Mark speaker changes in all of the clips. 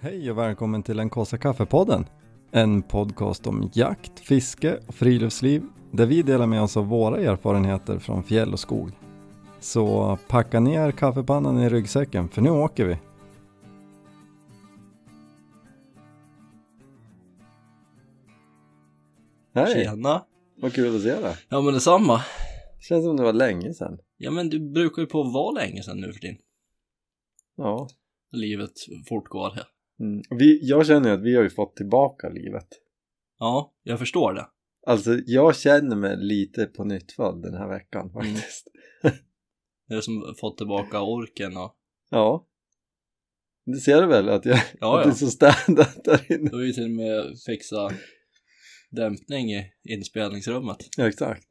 Speaker 1: Hej och välkommen till den kaffe kaffepodden. En podcast om jakt, fiske och friluftsliv där vi delar med oss av våra erfarenheter från fjäll och skog. Så packa ner kaffepannan i ryggsäcken för nu åker vi. Hej,
Speaker 2: Tjena!
Speaker 1: vad kul att se dig.
Speaker 2: Ja men detsamma!
Speaker 1: Känns som det var länge sedan.
Speaker 2: Ja men du brukar ju på att vara länge sedan nu för din.
Speaker 1: Ja.
Speaker 2: Livet fortgår här.
Speaker 1: Mm. Vi, jag känner ju att vi har ju fått tillbaka livet.
Speaker 2: Ja, jag förstår det.
Speaker 1: Alltså jag känner mig lite på nytt född den här veckan
Speaker 2: Mm.
Speaker 1: faktiskt.
Speaker 2: Det är som fått tillbaka orken och...
Speaker 1: Ja. Det ser du väl att jag
Speaker 2: Ja,
Speaker 1: att det är
Speaker 2: ja.
Speaker 1: så städat där inne.
Speaker 2: Du har ju till och med fixa dämpning i inspelningsrummet.
Speaker 1: Ja, exakt.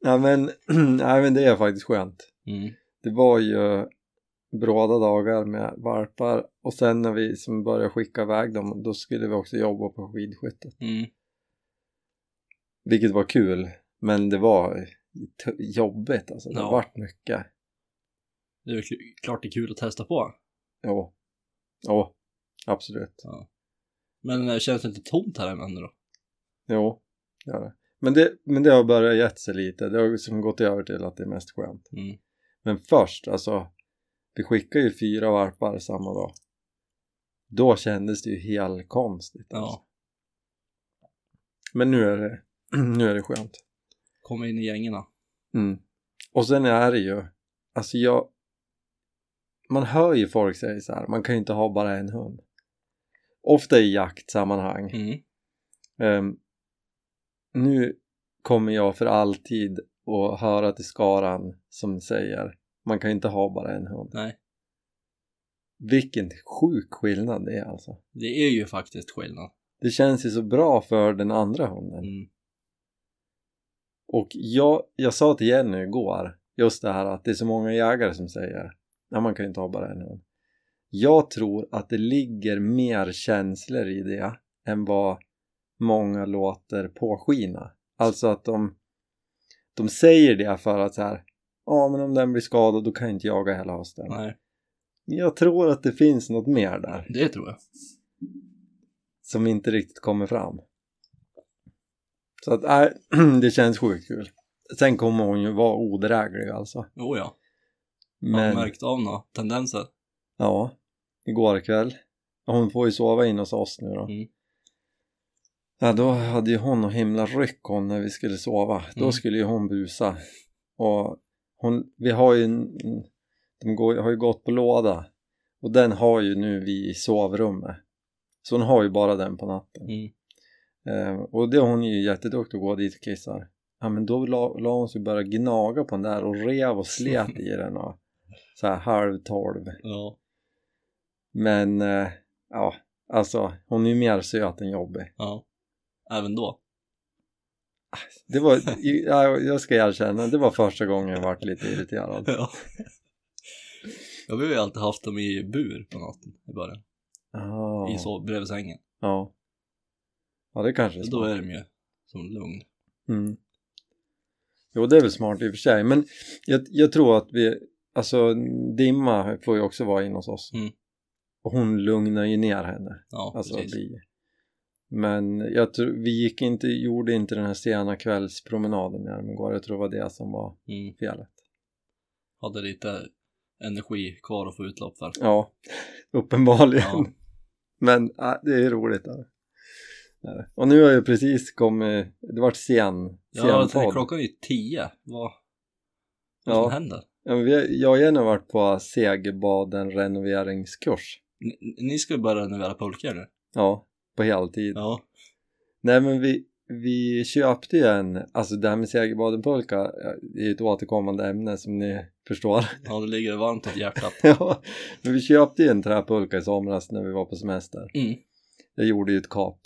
Speaker 1: Nej men, nej men det är faktiskt skönt.
Speaker 2: Mm.
Speaker 1: Det var ju bråda dagar med varpar och sen när vi som började skicka iväg dem då skulle vi också jobba på skidskyttet.
Speaker 2: Mm.
Speaker 1: Vilket var kul men det var t- jobbigt alltså. Det
Speaker 2: Ja.
Speaker 1: vart mycket.
Speaker 2: Det är ju kl- klart det är kul att testa på.
Speaker 1: Ja. Ja, absolut.
Speaker 2: Men eh, känns det inte tomt här ännu då?
Speaker 1: Jo, det gör det. Men det, men det har börjat gett sig lite. Det har liksom gått över till att det är mest skönt.
Speaker 2: Mm.
Speaker 1: Men först, alltså, vi skickade ju fyra varpar samma dag. Då kändes det ju helt konstigt. alltså.
Speaker 2: Ja.
Speaker 1: Men nu är det, nu är det skönt.
Speaker 2: Komma in i gängerna.
Speaker 1: Mm. Och sen är det ju, alltså jag, man hör ju folk säga så här, man kan ju inte ha bara en hund. Ofta i jaktsammanhang.
Speaker 2: Mm.
Speaker 1: Ehm, nu kommer jag för alltid att höra till skaran som säger man kan ju inte ha bara en hund.
Speaker 2: Nej.
Speaker 1: Vilken sjuk skillnad det är alltså.
Speaker 2: Det är ju faktiskt skillnad.
Speaker 1: Det känns ju så bra för den andra hunden.
Speaker 2: Mm.
Speaker 1: Och jag, jag sa till Jenny igår just det här att det är så många jägare som säger nej man kan ju inte ha bara en hund. Jag tror att det ligger mer känslor i det än vad många låter påskina. Alltså att de, de säger det för att så här ja men om den blir skadad då kan jag inte jaga hela hösten.
Speaker 2: Nej,
Speaker 1: Jag tror att det finns något mer där
Speaker 2: det tror jag.
Speaker 1: som inte riktigt kommer fram. Så att, nej, det känns sjukt kul. Sen kommer hon ju vara odräglig alltså.
Speaker 2: Jo ja. Har du
Speaker 1: Men,
Speaker 2: märkt av några tendenser?
Speaker 1: ja, igår kväll. Hon får ju sova in hos oss nu då.
Speaker 2: Mm.
Speaker 1: Ja, då hade ju hon och himla ryck hon när vi skulle sova. Då
Speaker 2: Mm.
Speaker 1: skulle ju hon busa. Och hon, vi har ju, en- de går, har ju gått på låda. Och den har ju nu vi i sovrummet. Så hon har ju bara den på natten.
Speaker 2: Mm.
Speaker 1: Eh, och det hon är ju jätteduktig att gå dit och kissar. Ja men då la, la hon sig bara gnaga på den där och rev och slet i den och så här halv tolv.
Speaker 2: Ja.
Speaker 1: Men eh, ja, alltså hon är ju mer söt än jobbig.
Speaker 2: Ja. Även då.
Speaker 1: Det var, ja, jag ska erkänna, det var första gången jag vart lite irriterad.
Speaker 2: Ja. Jag har ju alltid haft dem i bur på natten i början.
Speaker 1: Ja,
Speaker 2: I sov, bredvid sängen.
Speaker 1: ja. ja det kanske är
Speaker 2: Då
Speaker 1: smart.
Speaker 2: är de ju som lugn.
Speaker 1: Mm. Jo, det är väl smart i och för sig, men jag, jag tror att vi, alltså Dimma får ju också vara in hos oss.
Speaker 2: Mm.
Speaker 1: Och hon lugnar ju ner henne.
Speaker 2: Ja,
Speaker 1: Alltså,
Speaker 2: precis.
Speaker 1: vi, men jag tror, vi gick inte, gjorde inte den här sena kvällspromenaden med dem igår. Jag tror det var det som var
Speaker 2: Mm.
Speaker 1: felet.
Speaker 2: Hade lite energi kvar att få utlopp för.
Speaker 1: Ja, uppenbarligen.
Speaker 2: Ja.
Speaker 1: Men äh, det är roligt. Där. Och nu har jag precis kommit, det vart sen, sen
Speaker 2: Ja, jag tänkte,
Speaker 1: podd.
Speaker 2: klockan är ju tio. Vad, vad
Speaker 1: Ja.
Speaker 2: som händer?
Speaker 1: Ja, men vi, jag och Jenny har varit på Segerbaden renoveringskurs.
Speaker 2: Ni, ni ska ju börja renovera pulkor nu.
Speaker 1: Ja, på heltid.
Speaker 2: Ja.
Speaker 1: Nej men vi, vi köpte ju en, alltså det här med Segerbaden pulka ja, det är ju ett återkommande ämne som ni förstår.
Speaker 2: ja, det ligger varmt åt hjärtat.
Speaker 1: ja, men vi köpte ju en träpulka i somras när vi var på semester.
Speaker 2: Mm.
Speaker 1: Jag gjorde ju ett kap.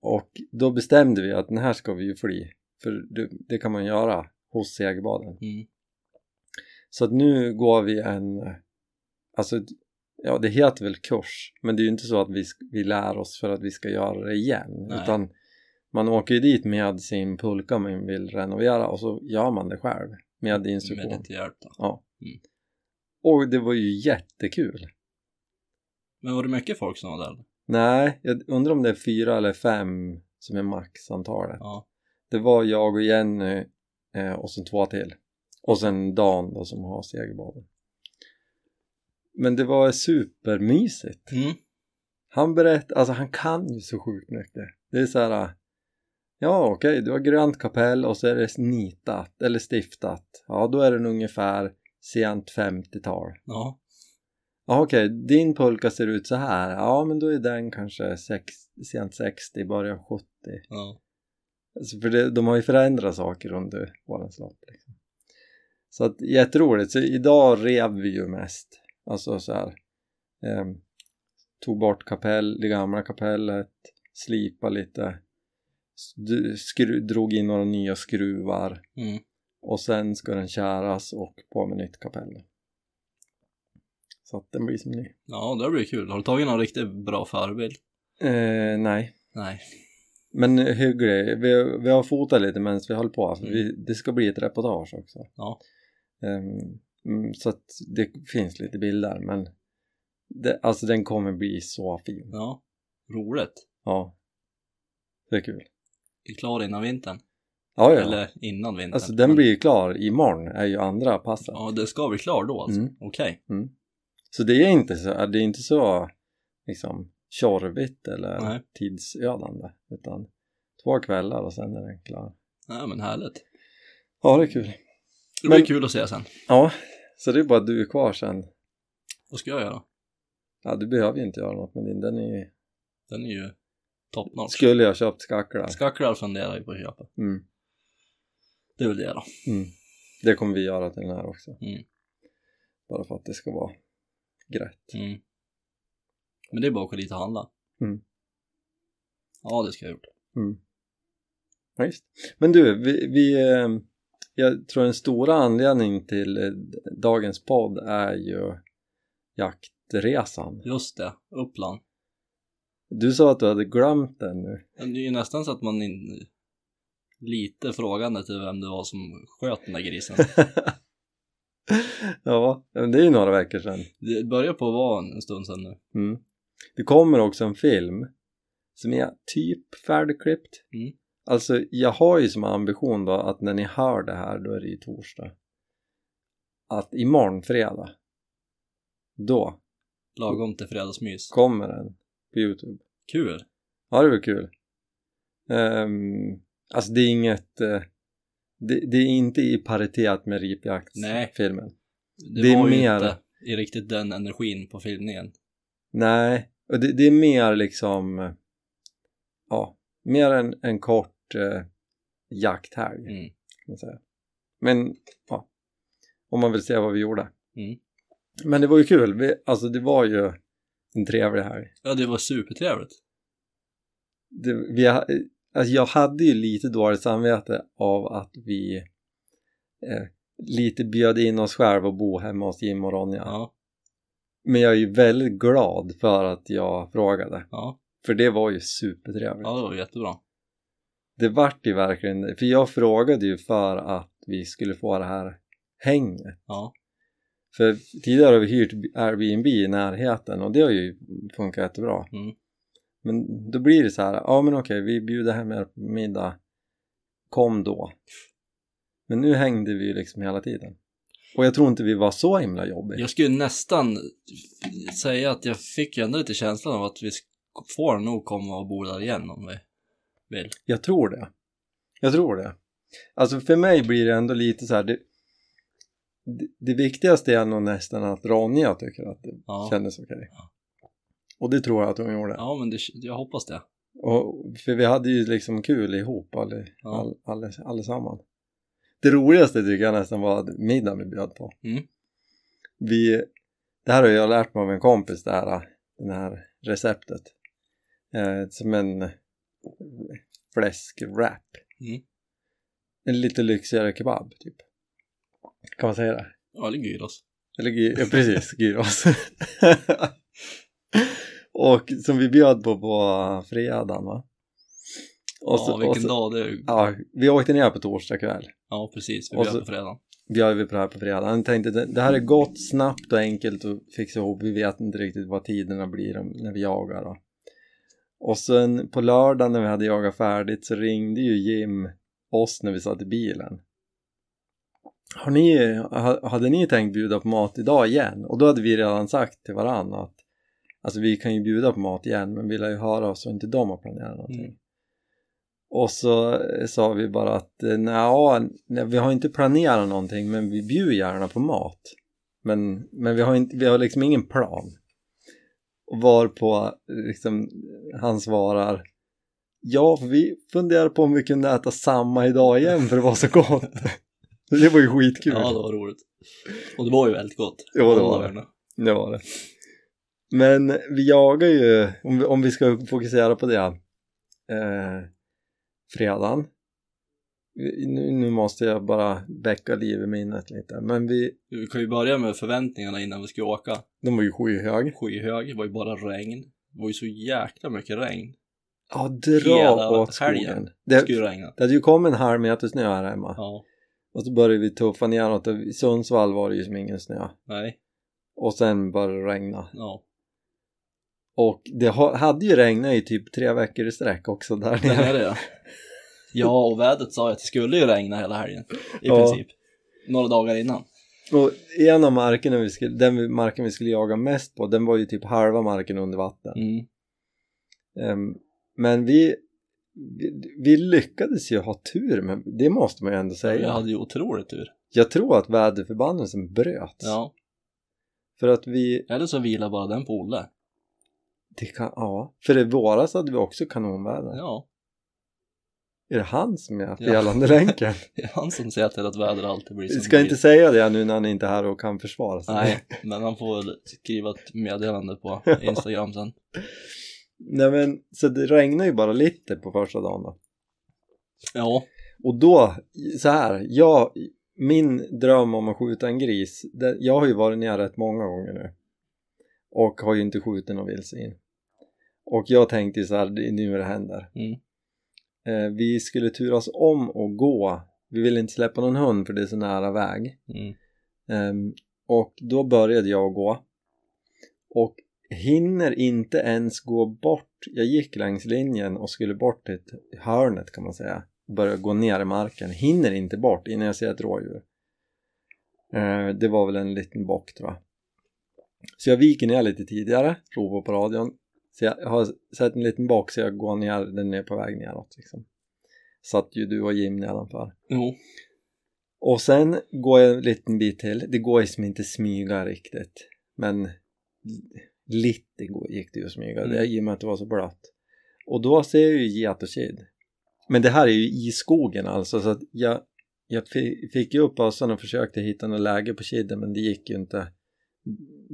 Speaker 1: Och då bestämde vi att den här ska vi ju fly, för det, det kan man göra hos Segerbaden.
Speaker 2: Mm.
Speaker 1: Så att nu går vi en, alltså ja det heter väl kurs, men det är ju inte så att vi, sk- vi lär oss för att vi ska göra det igen.
Speaker 2: Nej.
Speaker 1: Utan man åker ju dit med sin pulka man vill renovera och så gör man det själv med
Speaker 2: Med
Speaker 1: instruktion.
Speaker 2: lite hjärta.
Speaker 1: Och det var ju jättekul.
Speaker 2: Men var det mycket folk som var där?
Speaker 1: Nej, jag undrar om det är fyra eller fem som är maxantalet.
Speaker 2: Ja.
Speaker 1: Det var jag och Jenny eh, och sen två till. Och sen Dan då som har segelbaden. Men det var supermysigt.
Speaker 2: Mm.
Speaker 1: Han berättar, alltså han kan ju så sjukt mycket. Det är så här, ja okej, du har grönt kapell och så är det nitat eller stiftat. Ja, då är den ungefär sent 50-tal.
Speaker 2: Ja.
Speaker 1: Ja, okej, din pulka ser ut så här. Ja, men då är den kanske sex, sent 60, början 70.
Speaker 2: ja.
Speaker 1: Alltså för det, de har ju förändrat saker under årens lopp. Liksom. Så att, jätteroligt. Så idag rev vi ju mest. Alltså så här. ehm, tog bort kapell, det gamla kapellet, slipa lite, st- skru, drog in några nya skruvar
Speaker 2: Mm.
Speaker 1: och sen ska den käras och på med nytt kapell. Så att den blir som ny.
Speaker 2: Ja, det blir kul. Har du tagit någon riktigt bra förebild?
Speaker 1: Eh, nej.
Speaker 2: Nej.
Speaker 1: Men hygglig. Vi, vi har fotat lite medan vi höll på. För
Speaker 2: Mm.
Speaker 1: vi, det ska bli ett reportage också.
Speaker 2: Ja.
Speaker 1: Ehm, mm, så att det finns lite bilder men det, alltså den kommer bli så fin.
Speaker 2: Ja. Roligt.
Speaker 1: Ja. Det är kul.
Speaker 2: Är klar innan vintern?
Speaker 1: Ja, ja.
Speaker 2: Eller innan vintern?
Speaker 1: alltså den blir ju klar imorgon är ju andra passet.
Speaker 2: Ja, det ska bli klar då alltså?
Speaker 1: Mm.
Speaker 2: Okej.
Speaker 1: Så det är inte så, det är inte så liksom tjorvigt eller
Speaker 2: Nej.
Speaker 1: tidsödande utan två kvällar och sen är den klar.
Speaker 2: Nej, men härligt.
Speaker 1: Ja, det är kul.
Speaker 2: Det blir
Speaker 1: Men-
Speaker 2: kul att se sen.
Speaker 1: Ja, så det är bara du kvar sen.
Speaker 2: Vad ska jag göra?
Speaker 1: Ja, du behöver ju inte göra något med din. Den är ju...
Speaker 2: Den är ju top notch.
Speaker 1: Skulle jag köpt skacklar?
Speaker 2: Skacklar funderar ju på att köpa.
Speaker 1: Mm.
Speaker 2: Det är väl det då.
Speaker 1: Mm. Det kommer vi göra till den här också.
Speaker 2: Mm.
Speaker 1: Bara för att det ska vara grätt.
Speaker 2: Mm. Men det är bara att åka dit och handla.
Speaker 1: Mm.
Speaker 2: Ja, det ska jag ha gjort.
Speaker 1: Ja, just. Men du, vi, vi, eh, jag tror en stora anledning till eh, dagens podd är ju jaktresan.
Speaker 2: Just det, Uppland.
Speaker 1: Du sa att du hade glömt den nu.
Speaker 2: Det är ju nästan så att man in... lite frågande till vem det var som sköt den där grisen.
Speaker 1: Ja, men det är ju några veckor sedan.
Speaker 2: Det börjar på att vara en en stund sedan nu.
Speaker 1: Mm. Det kommer också en film som är typ färdigklippt.
Speaker 2: Mm.
Speaker 1: Alltså jag har ju som ambition då att när ni hör det här, då är det ju torsdag. Att imorgon fredag, då
Speaker 2: Lagom till fredagsmys.
Speaker 1: kommer den på Youtube.
Speaker 2: Kul!
Speaker 1: Ja, det var kul. Ehm, alltså det är inget, eh, det, det är inte i paritet med
Speaker 2: Nej.
Speaker 1: ripjaktsfilmen.
Speaker 2: Det,
Speaker 1: Det är
Speaker 2: var ju
Speaker 1: mer-
Speaker 2: inte i riktigt den energin på filmningen.
Speaker 1: Nej, och det, det är mer liksom, ja, mer en, en kort eh, jakthelg.
Speaker 2: Mm.
Speaker 1: kan man säga. Men ja, om man vill se vad vi gjorde.
Speaker 2: Mm.
Speaker 1: Men det var ju kul, vi, alltså det var ju en trevlig helg.
Speaker 2: Ja, det var supertrevligt.
Speaker 1: Det, vi, ha- alltså jag hade ju lite dåligt samvete av att vi eh, lite bjöd in oss själva och bo hemma hos Jim och Ronja.
Speaker 2: Ja,
Speaker 1: Men jag är ju väldigt glad för att jag frågade.
Speaker 2: ja,
Speaker 1: För det var ju supertrevligt.
Speaker 2: ja det var jättebra.
Speaker 1: Det vart ju verkligen det. För jag frågade ju för att vi skulle få det här hänget.
Speaker 2: Ja,
Speaker 1: För tidigare har vi hyrt Airbnb i närheten och det har ju funkat jättebra.
Speaker 2: Mm.
Speaker 1: Men då blir det så här, ja men okej vi bjuder hem er på middag, kom då. Men nu hängde vi ju liksom hela tiden. Och jag tror inte vi var så himla jobbiga.
Speaker 2: jag skulle nästan säga att jag fick ju ändå lite känslan av att vi sk- får nog komma och bo där igen om vi vill.
Speaker 1: Jag tror det. Jag tror det. Alltså för mig blir det ändå lite så här, det, det, det viktigaste är nog nästan att Ronja tycker att det
Speaker 2: Ja.
Speaker 1: kändes okej. Och det tror jag att hon gjorde.
Speaker 2: Ja, men det, jag hoppas det.
Speaker 1: Och, för vi hade ju liksom kul ihop all,
Speaker 2: Ja.
Speaker 1: all, all, allesammans. Det roligaste tycker jag nästan var att middagen vi bjöd på.
Speaker 2: Mm.
Speaker 1: Vi, det här har jag lärt mig av en kompis, det här, det här receptet. Eh, som en fläskwrap.
Speaker 2: Mm.
Speaker 1: En lite lyxigare kebab typ. Kan man säga det?
Speaker 2: Ja, eller gyros.
Speaker 1: Eller gy- ja, precis, gyros. och som vi bjöd på på fredagen va? Och
Speaker 2: ja, vilken
Speaker 1: och så,
Speaker 2: dag det är.
Speaker 1: Ja, vi åkte ner på torsdag kväll.
Speaker 2: Ja, precis. Vi
Speaker 1: och
Speaker 2: bjöd
Speaker 1: så-
Speaker 2: på fredagen.
Speaker 1: bjöd vi på det här på fredag. Han tänkte det det här är gott, snabbt och enkelt att fixa ihop. Vi vet inte riktigt vad tiderna blir om, när vi jagar. Då. Och sen på lördagen när vi hade jagat färdigt så ringde ju Jim oss när vi satt i bilen. Har ni, ha- hade ni tänkt bjuda på mat idag igen? Och då hade vi redan sagt till varandra att alltså vi kan ju bjuda på mat igen men vi lär ju höra oss och inte de har planerat någonting.
Speaker 2: Mm.
Speaker 1: Och så eh, sa vi bara att eh, nja, nej, vi har inte planerat någonting men vi bjuder gärna på mat. Men, men vi, har inte, vi har liksom ingen plan. Och varpå eh, liksom, han svarar Ja, för vi funderar på om vi kunde äta samma idag igen för det var så gott. det var ju skitkul.
Speaker 2: Ja, det var roligt. Och det var ju väldigt gott.
Speaker 1: Jo, det
Speaker 2: Alla
Speaker 1: var det.
Speaker 2: dagarna.
Speaker 1: Det var det. Men vi jagar ju, om vi, om vi ska fokusera på det, eh, fredagen. Vi- Nu, nu måste jag bara väcka liv i minnet lite, men vi,
Speaker 2: Vi kan ju börja med förväntningarna innan vi ska åka.
Speaker 1: de var ju skyhög.
Speaker 2: Skyhög, det var ju bara regn. Det var ju så jäkla mycket regn.
Speaker 1: Ja,
Speaker 2: Hela
Speaker 1: dra åt skogen.
Speaker 2: helgen.
Speaker 1: Det,
Speaker 2: skulle regna.
Speaker 1: det hade ju kommit en halv meter snö här hemma
Speaker 2: Ja,
Speaker 1: och så började vi tuffa neråt och i Sundsvall var det ju som ingen snö
Speaker 2: nej,
Speaker 1: och sen började det regna.
Speaker 2: ja.
Speaker 1: Och det ha, hade ju regnat i typ tre veckor i sträck också där
Speaker 2: Det
Speaker 1: nere.
Speaker 2: är det ja. Ja, och vädret sa ju att det skulle ju regna hela helgen. I
Speaker 1: Ja.
Speaker 2: princip. Några dagar innan.
Speaker 1: Och en av markerna vi skulle, den vi- marken vi skulle jaga mest på, den var ju typ halva marken under vatten.
Speaker 2: Mm.
Speaker 1: Ehm, men vi, vi, vi lyckades ju ha tur, men det måste man ju ändå säga.
Speaker 2: Jag hade ju otroligt tur.
Speaker 1: Jag tror att väderförbannelsen bröts.
Speaker 2: Ja.
Speaker 1: För att vi,
Speaker 2: Eller så vilar bara den på Olle.
Speaker 1: det kan, ja, för i våras hade vi också kanonväder.
Speaker 2: Ja.
Speaker 1: Är det han som är
Speaker 2: Ja.
Speaker 1: felande länken?
Speaker 2: Det är han som säger till att väder alltid blir som
Speaker 1: Vi ska
Speaker 2: det
Speaker 1: inte
Speaker 2: blir.
Speaker 1: säga det nu när han inte är här och kan försvara sig.
Speaker 2: Nej, men han får väl skriva ett meddelande på Instagram sen.
Speaker 1: Nej men, så det regnade ju bara lite på första dagen då.
Speaker 2: Ja,
Speaker 1: Och då, så här, jag, min dröm om att skjuta en gris, det, jag har ju varit nere rätt många gånger nu och har ju inte skjutit något vildsvin. Och jag tänkte ju så här, det är nu det händer.
Speaker 2: Mm.
Speaker 1: Eh, vi skulle turas om och gå, vi ville inte släppa någon hund för det är så nära väg.
Speaker 2: mm.
Speaker 1: Ehm, och då började jag gå. Och hinner inte ens gå bort. Jag gick längs linjen och skulle bort till ett- hörnet kan man säga. Börja gå ner i marken. Hinner inte bort innan jag ser ett rådjur. Eh, det var väl en liten bock tror jag. Så jag viker ner lite tidigare, ropar på radion. Så jag har sett en liten bock så jag går ner, den är på väg neråt liksom. Satt ju du och Jim nedanför.
Speaker 2: jo,
Speaker 1: Och sen går jag en liten bit till. Det går ju som inte smyga riktigt. Men l- lite går- gick det ju att smyga
Speaker 2: Mm.
Speaker 1: det, i och med att det var så blött. Och då ser jag ju get och kid. Men det här är ju i skogen alltså så att jag, jag fi- fick ju upp bössan och försökte hitta något läge på kidden men det gick ju inte.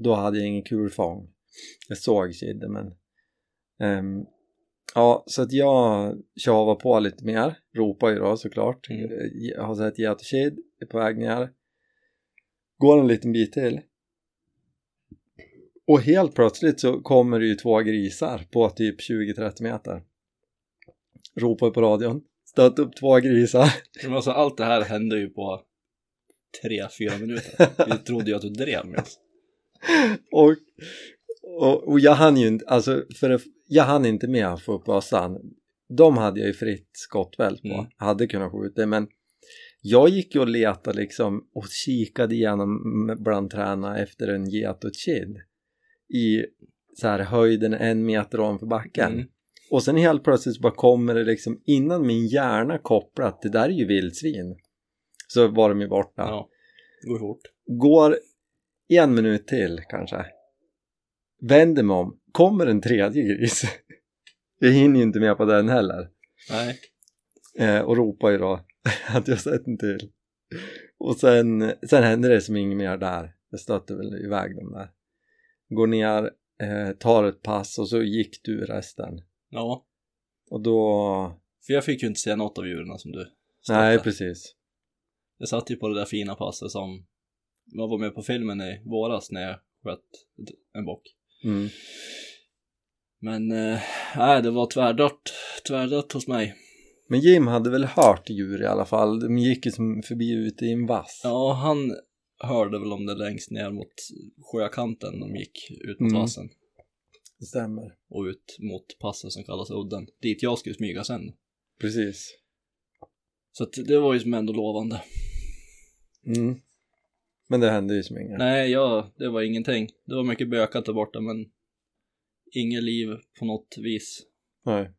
Speaker 1: Då hade jag ingen kulfång. Jag såg kidden men ehm, Ja, så att jag tjavar på lite mer, ropar ju då såklart.
Speaker 2: Mm.
Speaker 1: Jag har sett get och kid, är på väg ner. Går en liten bit till. Och helt plötsligt så kommer det ju två grisar på typ 20-30 meter. Ropar på radion. Stöt upp två grisar.
Speaker 2: men alltså allt det här hände ju på tre, fyra minuter. Vi trodde ju att du drev med oss.
Speaker 1: Och, och, och jag hann ju inte, alltså för det, jag hann inte med att få upp bössan. De hade jag ju fritt skottfält på,
Speaker 2: Mm.
Speaker 1: hade kunnat skjuta men jag gick ju och letade liksom och kikade igenom bland träna efter en get och ett kid i så här höjden en meter ovanför backen.
Speaker 2: Mm.
Speaker 1: Och sen helt plötsligt så bara kommer det liksom innan min hjärna kopplat, det där är ju vildsvin. Så var de ju borta
Speaker 2: Ja. Går fort.
Speaker 1: går en minut till kanske vänder mig om, kommer en tredje gris jag hinner ju inte med på den heller
Speaker 2: Nej.
Speaker 1: eh, och ropar ju då att jag sett en till och sen, sen händer det som inget mer där jag stötte väl iväg dem där går ner, eh, tar ett pass och så gick du resten
Speaker 2: Ja.
Speaker 1: och då,
Speaker 2: För jag fick ju inte se något av djuren som du stötte.
Speaker 1: nej precis
Speaker 2: Jag satt ju på det där fina passet som jag var med på filmen i våras när jag sköt en bock.
Speaker 1: mm.
Speaker 2: Men eh, nej, det var tvärdött. Tvärdött hos mig.
Speaker 1: Men Jim hade väl hört djur i alla fall. De gick ju som förbi ute i en vass.
Speaker 2: Ja, han hörde väl om det längst ner mot sjökanten de gick ut mot
Speaker 1: Mm.
Speaker 2: vassen
Speaker 1: Det stämmer.
Speaker 2: och ut mot passet som kallas udden, dit jag skulle smyga sen.
Speaker 1: Precis.
Speaker 2: Så att det var ju som ändå lovande.
Speaker 1: Mm. Men det hände ju som inget.
Speaker 2: Nej, ja, det var ingenting. Det var mycket bökat där borta, men inget liv på något vis.
Speaker 1: Nej.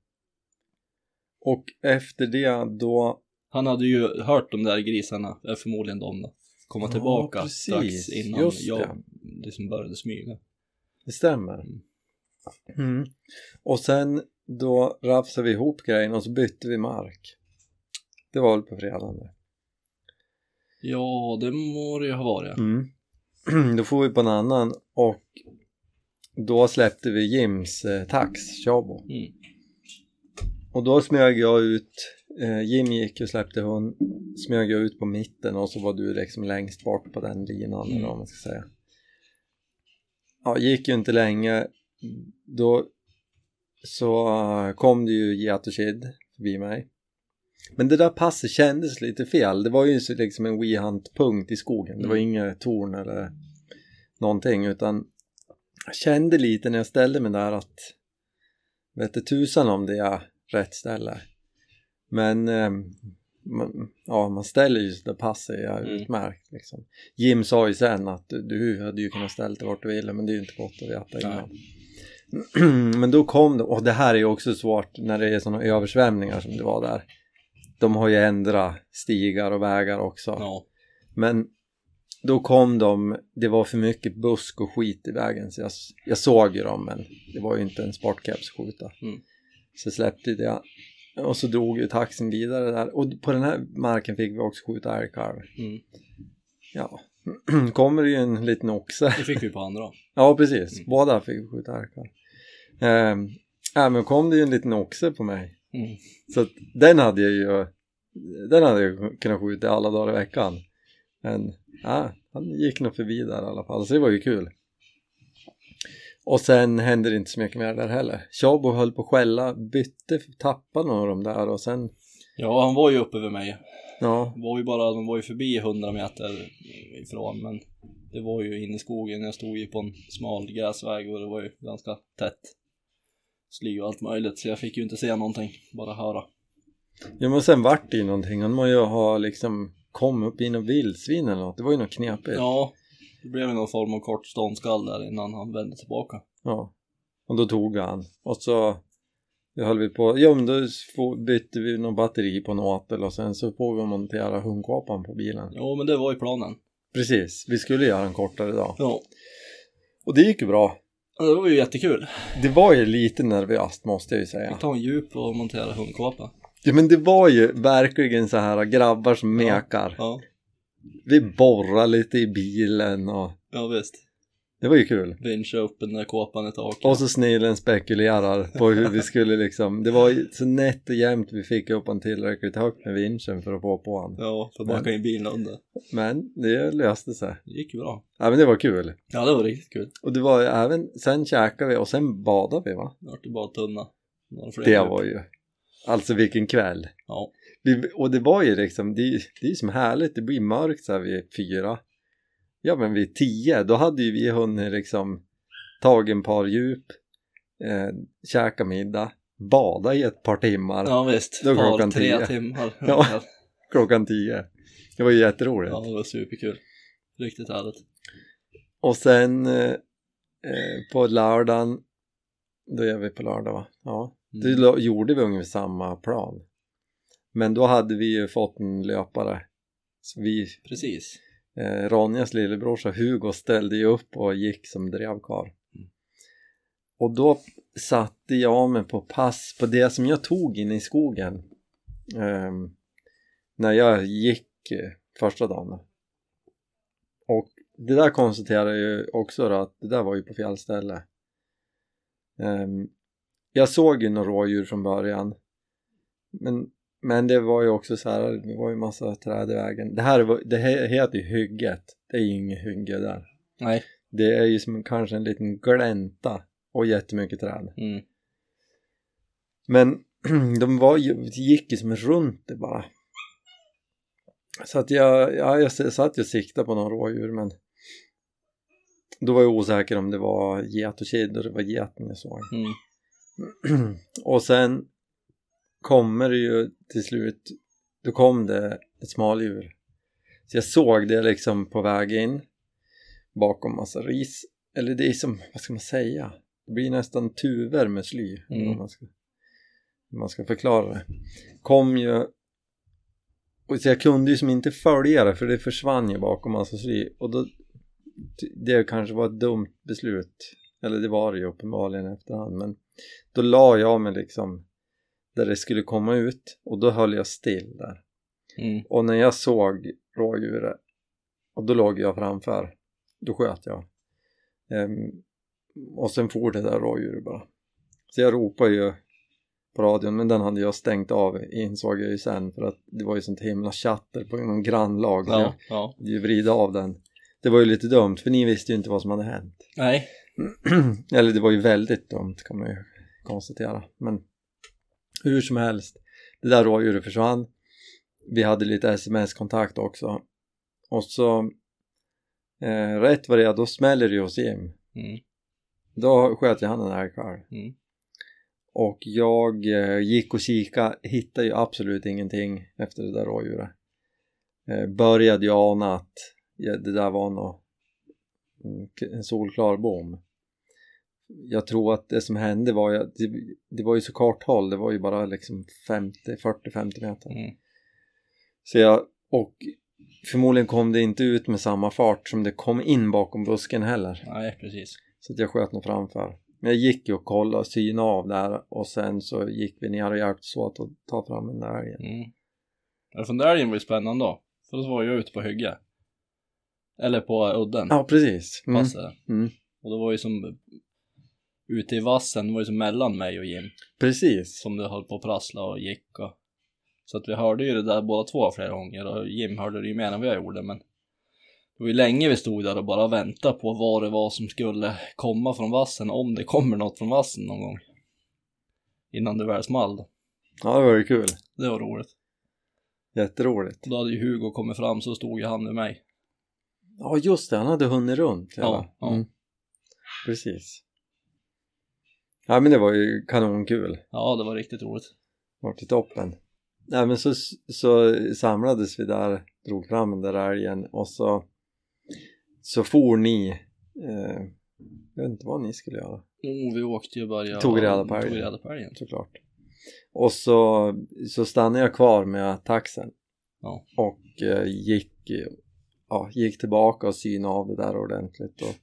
Speaker 1: Och efter det då...
Speaker 2: Han hade ju hört de där grisarna, eh, förmodligen de då, komma
Speaker 1: Ja,
Speaker 2: tillbaka
Speaker 1: precis.
Speaker 2: strax innan
Speaker 1: Just
Speaker 2: jag
Speaker 1: det.
Speaker 2: liksom började smyga.
Speaker 1: Det stämmer. Mm. Och sen då rafsade vi ihop grejen och så bytte vi mark. Det var väl på fredagen det.
Speaker 2: Ja, det må det ju ha varit.
Speaker 1: Mm. Då får vi på en annan och då släppte vi Jims eh, tax, Chabo.
Speaker 2: Mm.
Speaker 1: Och då smög jag ut, eh, Jim gick och släppte hon, smög jag ut på mitten och så var du liksom längst bort på den linan eller vad man ska säga. Ja, gick ju inte länge, då så eh, kom det ju get och kid förbi mig. Men det där passet kändes lite fel, det var ju så liksom en WeHunt-punkt i skogen, det var
Speaker 2: Mm.
Speaker 1: inga torn eller någonting utan jag kände lite när jag ställde mig där att vet du tusan om det är rätt ställe. Men ehm, man, ja, man ställer ju så där passet är
Speaker 2: Mm.
Speaker 1: utmärkt. Liksom. Jim sa ju sen att du, du hade ju kunnat ställa det vart du ville men det är ju inte gott att veta innan. men då kom det, och det här är ju också svårt när det är sådana översvämningar som det var där. De har ju ändrat stigar och vägar också.
Speaker 2: Ja.
Speaker 1: Men då kom de, det var för mycket busk och skit i vägen så jag, jag såg ju dem men det var ju inte en sportcaps att skjuta.
Speaker 2: Mm.
Speaker 1: Så släppte jag och så drog ju taxin vidare där och på den här marken fick vi också skjuta älgkalv.
Speaker 2: Mm.
Speaker 1: Ja, kommer det ju en liten oxe.
Speaker 2: Det fick vi på andra.
Speaker 1: Ja precis,
Speaker 2: Mm.
Speaker 1: båda fick vi skjuta älgkalv. Ehm, äh, men kom det ju en liten oxe på mig.
Speaker 2: Mm.
Speaker 1: Så att den hade jag ju den hade jag kunnat skjuta alla dagar i veckan. Men ja, han gick nog förbi där i alla fall, så det var ju kul. Och sen hände det inte så mycket mer där heller. Tjabo höll på att skälla, bytte, tappade någon av dem där och sen,
Speaker 2: Ja, han var ju uppe vid mig.
Speaker 1: ja,
Speaker 2: var ju bara, de var ju förbi 100 meter ifrån men det var ju inne i skogen, jag stod ju på en smal gräsväg och det var ju ganska tätt sly och allt möjligt så jag fick ju inte se någonting, bara höra.
Speaker 1: ja men sen vart det ju någonting. Han må ju ha liksom kom upp i något vildsvin eller något, det var ju något knepigt.
Speaker 2: Ja, det blev ju någon form av kort ståndskall där innan han vände tillbaka.
Speaker 1: Ja. Och då tog vi han. Och så då höll vi på. Ja, men då få- bytte vi någon batteri på en åtel och sen så får vi montera hundkapan på bilen.
Speaker 2: Jo men det var ju planen.
Speaker 1: Precis, vi skulle göra en kortare dag.
Speaker 2: Ja,
Speaker 1: Och det gick ju bra.
Speaker 2: Ja, det var ju jättekul.
Speaker 1: Det var ju lite nervöst måste jag ju
Speaker 2: Fick
Speaker 1: säga.
Speaker 2: ta en djup och montera hundkåpa.
Speaker 1: Ja, men det var ju verkligen så här grabbar som
Speaker 2: Ja.
Speaker 1: mekar.
Speaker 2: Ja,
Speaker 1: Vi borrade lite i bilen och
Speaker 2: ja visst.
Speaker 1: det var ju kul.
Speaker 2: Vincha upp den där kåpan i taket.
Speaker 1: Och så snillen spekulerar på hur vi skulle liksom, det var ju så nätt och jämnt vi fick upp honom tillräckligt högt med vinschen för att få på honom.
Speaker 2: Ja, för att backa in bilen under.
Speaker 1: Men det löste sig.
Speaker 2: Det gick ju bra.
Speaker 1: Ja men det var kul.
Speaker 2: Ja, det var riktigt kul.
Speaker 1: Och det var ju även, sen käkade vi och sen badade vi va?
Speaker 2: Det vart ju bara tunna. Några fler
Speaker 1: Det
Speaker 2: djup.
Speaker 1: var ju, alltså vilken kväll.
Speaker 2: Ja.
Speaker 1: Vi, och det var ju liksom, det, är- det är ju som härligt, det blir mörkt så här vid fyra. Ja men vid tio, då hade ju vi hunnit liksom tagit en par djup, eh, käka middag, bada i ett par timmar,
Speaker 2: Ja visst,
Speaker 1: Då
Speaker 2: par
Speaker 1: klockan
Speaker 2: tre
Speaker 1: tio.
Speaker 2: timmar.
Speaker 1: Ja. klockan tio. Det var ju jätteroligt.
Speaker 2: ja, det var superkul. Riktigt härligt.
Speaker 1: Och sen eh, eh, på lördagen, då gör vi på lördag va? Ja, det
Speaker 2: Mm.
Speaker 1: lo- gjorde vi ungefär samma plan. Men då hade vi ju fått en löpare. Så vi,
Speaker 2: Precis.
Speaker 1: eh, Ronjas lillebrorsa Hugo ställde ju upp och gick som drevkarl. Och då satte jag mig på pass på det som jag tog in i skogen ehm, när jag gick eh, första dagen. Och det där konstaterar jag ju också då att det där var ju på fel ställe. Ehm, jag såg ju några rådjur från början. Men, men det var ju också så här, det var ju massa träd i vägen. Det här var, det he- heter ju hygget. Det är ju inget hygge där.
Speaker 2: Nej.
Speaker 1: Det är ju som kanske en liten glänta och jättemycket träd.
Speaker 2: Mm.
Speaker 1: Men de var ju, gick ju som runt det bara. Så att jag, ja, jag satt ju och siktade på några rådjur men då var jag osäker om det var get och kid och det var geten jag såg.
Speaker 2: Mm.
Speaker 1: och sen kommer det ju till slut, då kom det ett smaldjur. Så jag såg det liksom på väg in bakom massa ris. Eller det är som, vad ska man säga? Det blir nästan tuver med sly.
Speaker 2: Mm.
Speaker 1: Om man ska, om man ska förklara det. Kom ju och så jag kunde ju som inte följa det för det försvann ju bakom massa sly och då det kanske var ett dumt beslut eller det var det ju uppenbarligen i efterhand men då la jag mig liksom där det skulle komma ut och då höll jag still där
Speaker 2: Mm.
Speaker 1: och när jag såg rådjuret och då låg jag framför då sköt jag Ehm, och sen for det där rådjuret bara så jag ropade ju på radion men den hade jag stängt av insåg jag ju sen för att det var ju sånt himla tjatter på någon grannlag så
Speaker 2: Ja, ja.
Speaker 1: jag vrida av den det var ju lite dumt för ni visste ju inte vad som hade hänt
Speaker 2: Nej.
Speaker 1: eller det var ju väldigt dumt kan man ju konstatera men hur som helst det där rådjuret försvann vi hade lite sms-kontakt också och så eh, rätt vad det är då smäller det ju hos Jim
Speaker 2: Mm.
Speaker 1: då sköt jag han en älgkalv
Speaker 2: Mm.
Speaker 1: och jag eh, gick och kika hittade ju absolut ingenting efter det där rådjuret eh, började jag ana att ja, det där var nog en k- en solklar bom jag tror att det som hände var ju att det, det var ju så kort håll det var ju bara liksom 50, 40-50 meter
Speaker 2: Mm.
Speaker 1: så jag, och förmodligen kom det inte ut med samma fart som det kom in bakom busken heller
Speaker 2: Nej, precis.
Speaker 1: så att jag sköt nog framför. Men jag gick ju och kollade och synade av där och sen så gick vi ner och hjälptes åt att ta fram den där älgen.
Speaker 2: Mm. Men Funderingen var ju spännande då. För då var jag ute på hygge. Eller på udden.
Speaker 1: Ja, precis. Mm.
Speaker 2: Passet.
Speaker 1: Mm.
Speaker 2: Och det var ju som ute i vassen, det var ju som mellan mig och Jim
Speaker 1: Precis.
Speaker 2: som du höll på att prassla och gick och så att vi hörde ju det där båda två flera gånger och Jim hörde det ju mer än vad jag gjorde men det var ju länge vi stod där och bara väntade på vad det var som skulle komma från vassen om det kommer något från vassen någon gång innan det väl small.
Speaker 1: Ja, det var ju kul.
Speaker 2: Det var roligt.
Speaker 1: Jätteroligt.
Speaker 2: Och då hade ju Hugo kommit fram så stod ju han vid mig.
Speaker 1: Ja, just det. Han hade hunnit runt. hela.
Speaker 2: Ja, ja.
Speaker 1: Mm. Precis. Ja, men det var ju kanonkul.
Speaker 2: Ja, det var riktigt roligt.
Speaker 1: Vart i toppen. Nej, men så, så samlades vi där, drog fram den där älgen och så så for ni. Eh, jag vet inte vad ni skulle göra.
Speaker 2: Jo, vi åkte ju bara...
Speaker 1: Tog reda på älgen.
Speaker 2: Tog reda på älgen.
Speaker 1: såklart och så, så stannade jag kvar med taxen
Speaker 2: Ja.
Speaker 1: och eh, gick, eh, ja, gick tillbaka och synade av det där ordentligt och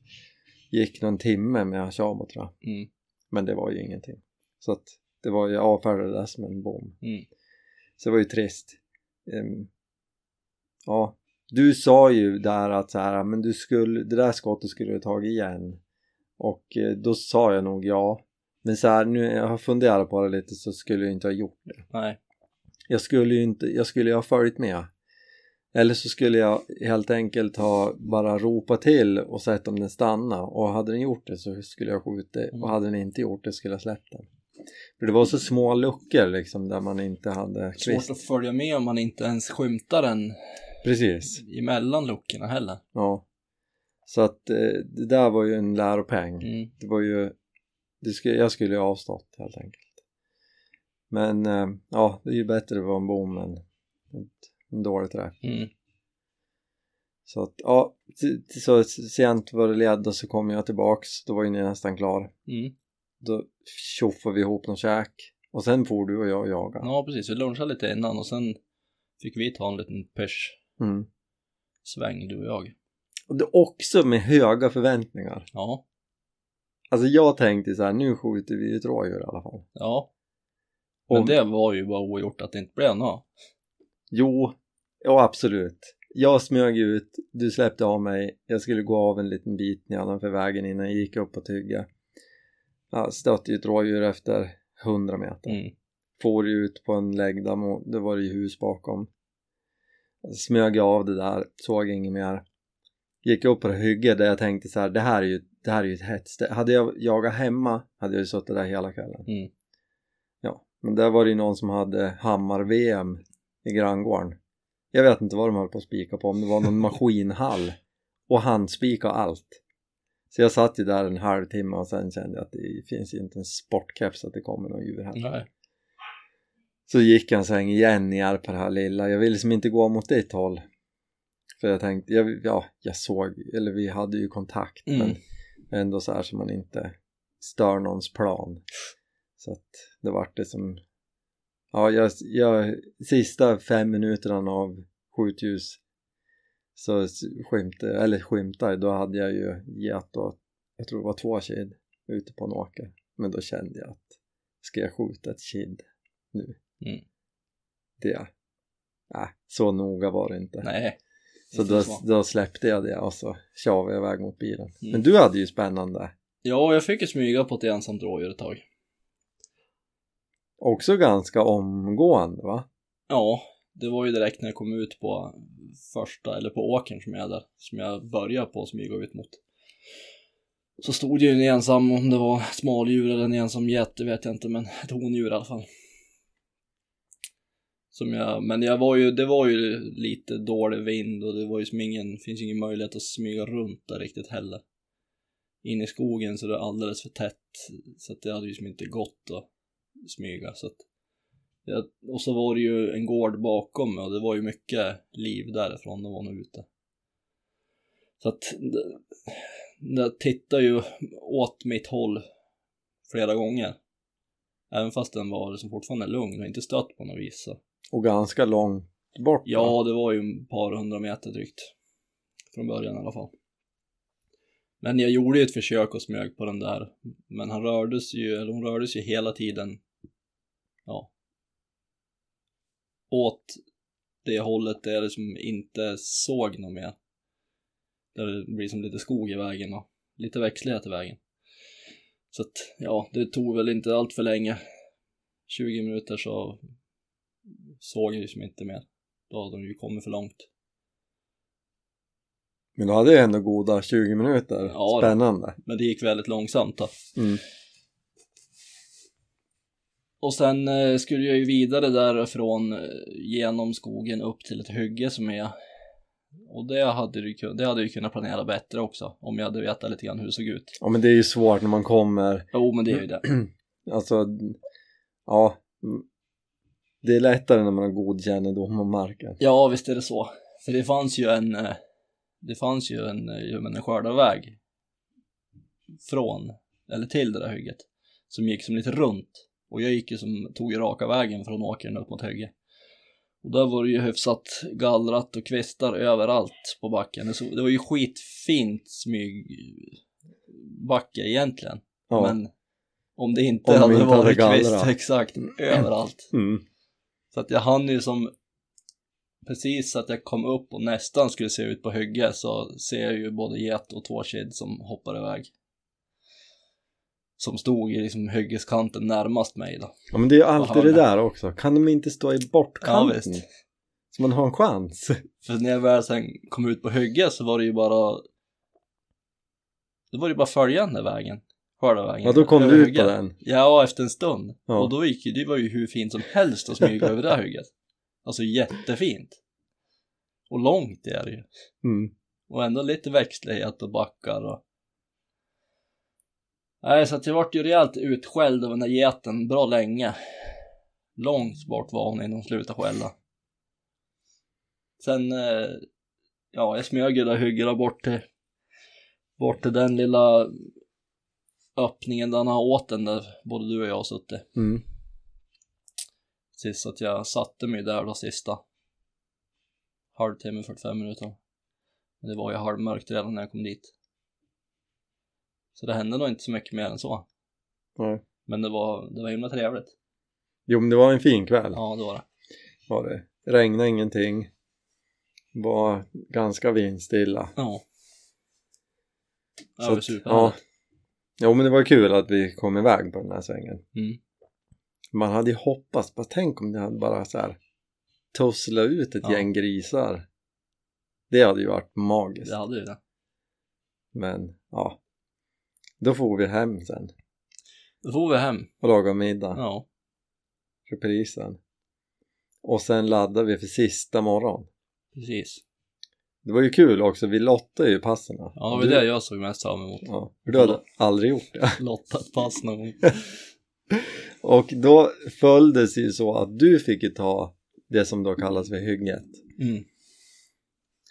Speaker 1: gick någon timme med Tjabo tror jag
Speaker 2: Mm.
Speaker 1: men det var ju ingenting så att det var ju jag avfärdade det där som en bom
Speaker 2: Mm.
Speaker 1: så det var ju trist Ehm, ja du sa ju där att så här, men du skulle, det där skottet skulle du tagit igen och eh, då sa jag nog ja men så här, nu jag har funderat på det lite så skulle jag inte ha gjort det
Speaker 2: Nej.
Speaker 1: jag skulle ju inte, jag skulle ju ha följt med eller så skulle jag helt enkelt ha bara ropat till och sett om den stannade och hade den gjort det så skulle jag skjutit och hade den inte gjort det skulle jag släppt den för det var så små luckor liksom där man inte hade kvist
Speaker 2: Svårt att följa med om man inte ens skymtar den
Speaker 1: precis
Speaker 2: emellan luckorna heller.
Speaker 1: ja så att eh, det där var ju en läropeng
Speaker 2: Mm.
Speaker 1: det var ju det skulle, jag skulle ju ha avstått helt enkelt men eh, ja det är ju bättre att vara en bom än ett- en dålig träff
Speaker 2: Mm.
Speaker 1: Så att, ja, t- t- så sent var det led och så kom jag tillbaks, då var ju ni nästan klar.
Speaker 2: Mm.
Speaker 1: Då tjoffade vi ihop någon käk och sen for du och jag och jagade.
Speaker 2: Ja, precis. Vi lunchade lite innan och sen fick vi ta en liten pers-sväng,
Speaker 1: Mm.
Speaker 2: du och jag.
Speaker 1: Och det också med höga förväntningar.
Speaker 2: Ja,
Speaker 1: Alltså jag tänkte så här, nu skjuter vi ett rådjur i alla fall.
Speaker 2: ja. Men
Speaker 1: Och,
Speaker 2: det var ju bara ogjort att det inte blev något.
Speaker 1: Jo, ja absolut. Jag smög ut, du släppte av mig, jag skulle gå av en liten bit nedanför vägen innan jag gick upp på tygga. Ja, stötte ju ett rådjur efter 100 meter.
Speaker 2: Mm.
Speaker 1: for ju ut på en läggdamm och det var det ju hus bakom smög jag av det där, såg inget mer gick upp på det hygge där jag tänkte så här, det här är ju, det här är ju ett hett ställe hade jag jagat hemma hade jag ju suttit där hela kvällen
Speaker 2: Mm.
Speaker 1: ja, Men där var det ju någon som hade hammar-VM i granngården. Jag vet inte vad de höll på att spika på, om det var någon maskinhall. Och handspika och allt. Så jag satt ju där en halvtimme och sen kände jag att det finns inte en sportkeps att det kommer någon djur här.
Speaker 2: Nej.
Speaker 1: Så gick jag en sväng igen i Arp på det här lilla. Jag ville liksom inte gå mot ditt håll. För jag tänkte, jag, ja, jag såg, eller vi hade ju kontakt
Speaker 2: Mm.
Speaker 1: men ändå så här så man inte stör någons plan. Så att det vart det som, ja, jag, jag, sista fem minuterna av skjutljus så s- skymte, eller skymtade, då hade jag ju gett åt, jag tror det var två kid ute på en åker. Men då kände jag att, ska jag skjuta ett kid nu?
Speaker 2: Mm.
Speaker 1: Det, nej, så noga var det inte.
Speaker 2: Nej.
Speaker 1: Så
Speaker 2: Inte
Speaker 1: då,
Speaker 2: så.
Speaker 1: då släppte jag det och så tjavade jag iväg mot bilen.
Speaker 2: Mm.
Speaker 1: Men du hade ju spännande,
Speaker 2: Ja, jag fick ju smyga på ett ensamt rådjur ett tag.
Speaker 1: också ganska omgående va?
Speaker 2: Ja, det var ju direkt när jag kom ut på första, eller på åkern som jag är där, som jag började på att smyga ut mot. Så stod det ju en ensam, om det var smaldjur eller en ensam get, det vet jag inte, men ett hondjur i alla fall. Som jag, men jag var ju, det var ju lite dålig vind och det var ju som ingen, finns ju ingen möjlighet att smyga runt där riktigt heller. In i skogen så det är alldeles för tätt, så att det hade ju som inte gått att smyga, så att jag, och så var det ju en gård bakom mig och det var ju mycket liv därifrån, de var nog ute. Så att det- jag tittade ju åt mitt håll flera gånger. Även fast den var liksom fortfarande lugn och inte stött på något vis. Så.
Speaker 1: Och ganska långt bort va?
Speaker 2: Ja, det var ju en par hundra meter drygt. Från början i alla fall. Men jag gjorde ju ett försök och smög på den där. Men han rördes ju, eller hon rördes ju hela tiden. Ja. Åt det hållet där jag liksom inte såg något mer. Där det blir som lite skog i vägen och lite växtlighet i vägen. Så att, ja, det tog väl inte allt för länge. 20 minuter så såg jag ju som inte mer. Då hade de ju kommit för långt.
Speaker 1: Men du hade ju ändå goda 20 minuter,
Speaker 2: Ja, det-
Speaker 1: spännande.
Speaker 2: Men det gick väldigt långsamt då.
Speaker 1: Mm.
Speaker 2: Och sen eh, skulle jag ju vidare därifrån eh, genom skogen upp till ett hygge som är och det hade, du, kun- det hade jag ju kunnat planera bättre också om jag hade vetat lite grann hur det såg ut.
Speaker 1: Ja men det är ju svårt när man kommer,
Speaker 2: Jo, men det är ju det.
Speaker 1: alltså, ja. mm. Det är lättare när man har god kännedom om marken.
Speaker 2: Ja, visst är det så. För det fanns ju en, eh, det fanns ju en, eh, ja, men en skördarväg från, eller till det där hygget, som gick som lite runt. Och jag gick ju som, tog ju raka vägen från åkern upp mot hygget. Och där var det ju hyfsat gallrat och kvistar överallt på backen. Det, så, det var ju skitfint smyg backe egentligen.
Speaker 1: Ja.
Speaker 2: Men om det inte
Speaker 1: Om de
Speaker 2: hade
Speaker 1: inte hade
Speaker 2: varit kvist
Speaker 1: gallrat.
Speaker 2: exakt överallt.
Speaker 1: Mm.
Speaker 2: Så att jag hann ju som precis så att jag kom upp och nästan skulle se ut på hygge så ser jag ju både get och två kid som hoppar iväg. Som stod i liksom hyggeskanten närmast mig då.
Speaker 1: Ja men det är ju alltid
Speaker 2: har
Speaker 1: det
Speaker 2: den
Speaker 1: där också, kan de inte stå i bortkanten?
Speaker 2: Ja, visst.
Speaker 1: så man har en chans.
Speaker 2: För när jag väl sen kom ut på hygge så var det ju bara det var ju bara följande vägen. Skördarvägen.
Speaker 1: Ja då kom
Speaker 2: över
Speaker 1: du ut
Speaker 2: hygget.
Speaker 1: på den.
Speaker 2: Ja, efter en stund.
Speaker 1: Ja.
Speaker 2: Och då gick ju, det var ju hur fint som helst att smyga över det här hygget. Alltså jättefint. Och långt är det ju.
Speaker 1: Mm.
Speaker 2: Och ändå lite växtlighet och backar och... Nej, så att jag vart ju rejält utskälld av den där geten bra länge. Långt bort var hon innan hon slutade skälla. Sen, eh, ja, jag smög ju där hyggena bort till, bort till den lilla öppningen där han har åt den där både du och jag har suttit.
Speaker 1: Mm.
Speaker 2: Sist att jag satte mig där då sista halvtimme, 45 minuter. Men det var ju halvmörkt redan när jag kom dit. Så det hände nog inte så mycket mer än så.
Speaker 1: Nej.
Speaker 2: Men det var, det var himla trevligt.
Speaker 1: Jo men det var en fin kväll.
Speaker 2: Ja, det var det.
Speaker 1: var det. Regnade ingenting. Var ganska vindstilla.
Speaker 2: Ja.
Speaker 1: Så
Speaker 2: Ja, typ. det var
Speaker 1: att,
Speaker 2: superhärligt.
Speaker 1: Jo men det var kul att vi kom iväg på den här svängen.
Speaker 2: Mm.
Speaker 1: Man hade ju hoppats, bara tänk om det hade bara så här tussla ut ett
Speaker 2: Ja.
Speaker 1: gäng grisar. Det hade ju varit magiskt.
Speaker 2: Det hade ju det.
Speaker 1: Men ja, då får vi hem sen
Speaker 2: Då får vi hem.
Speaker 1: och laga middag.
Speaker 2: Ja.
Speaker 1: reprisen. Och sen laddade vi för sista morgon.
Speaker 2: Precis.
Speaker 1: Det var ju kul också, vi lottade ju passen.
Speaker 2: Ja, det var det jag såg mest fram emot.
Speaker 1: Ja, för du hade aldrig gjort det.
Speaker 2: Lottat pass någon gång.
Speaker 1: Och då följdes det ju så att du fick ju ta det som då kallas för hygget.
Speaker 2: Mm.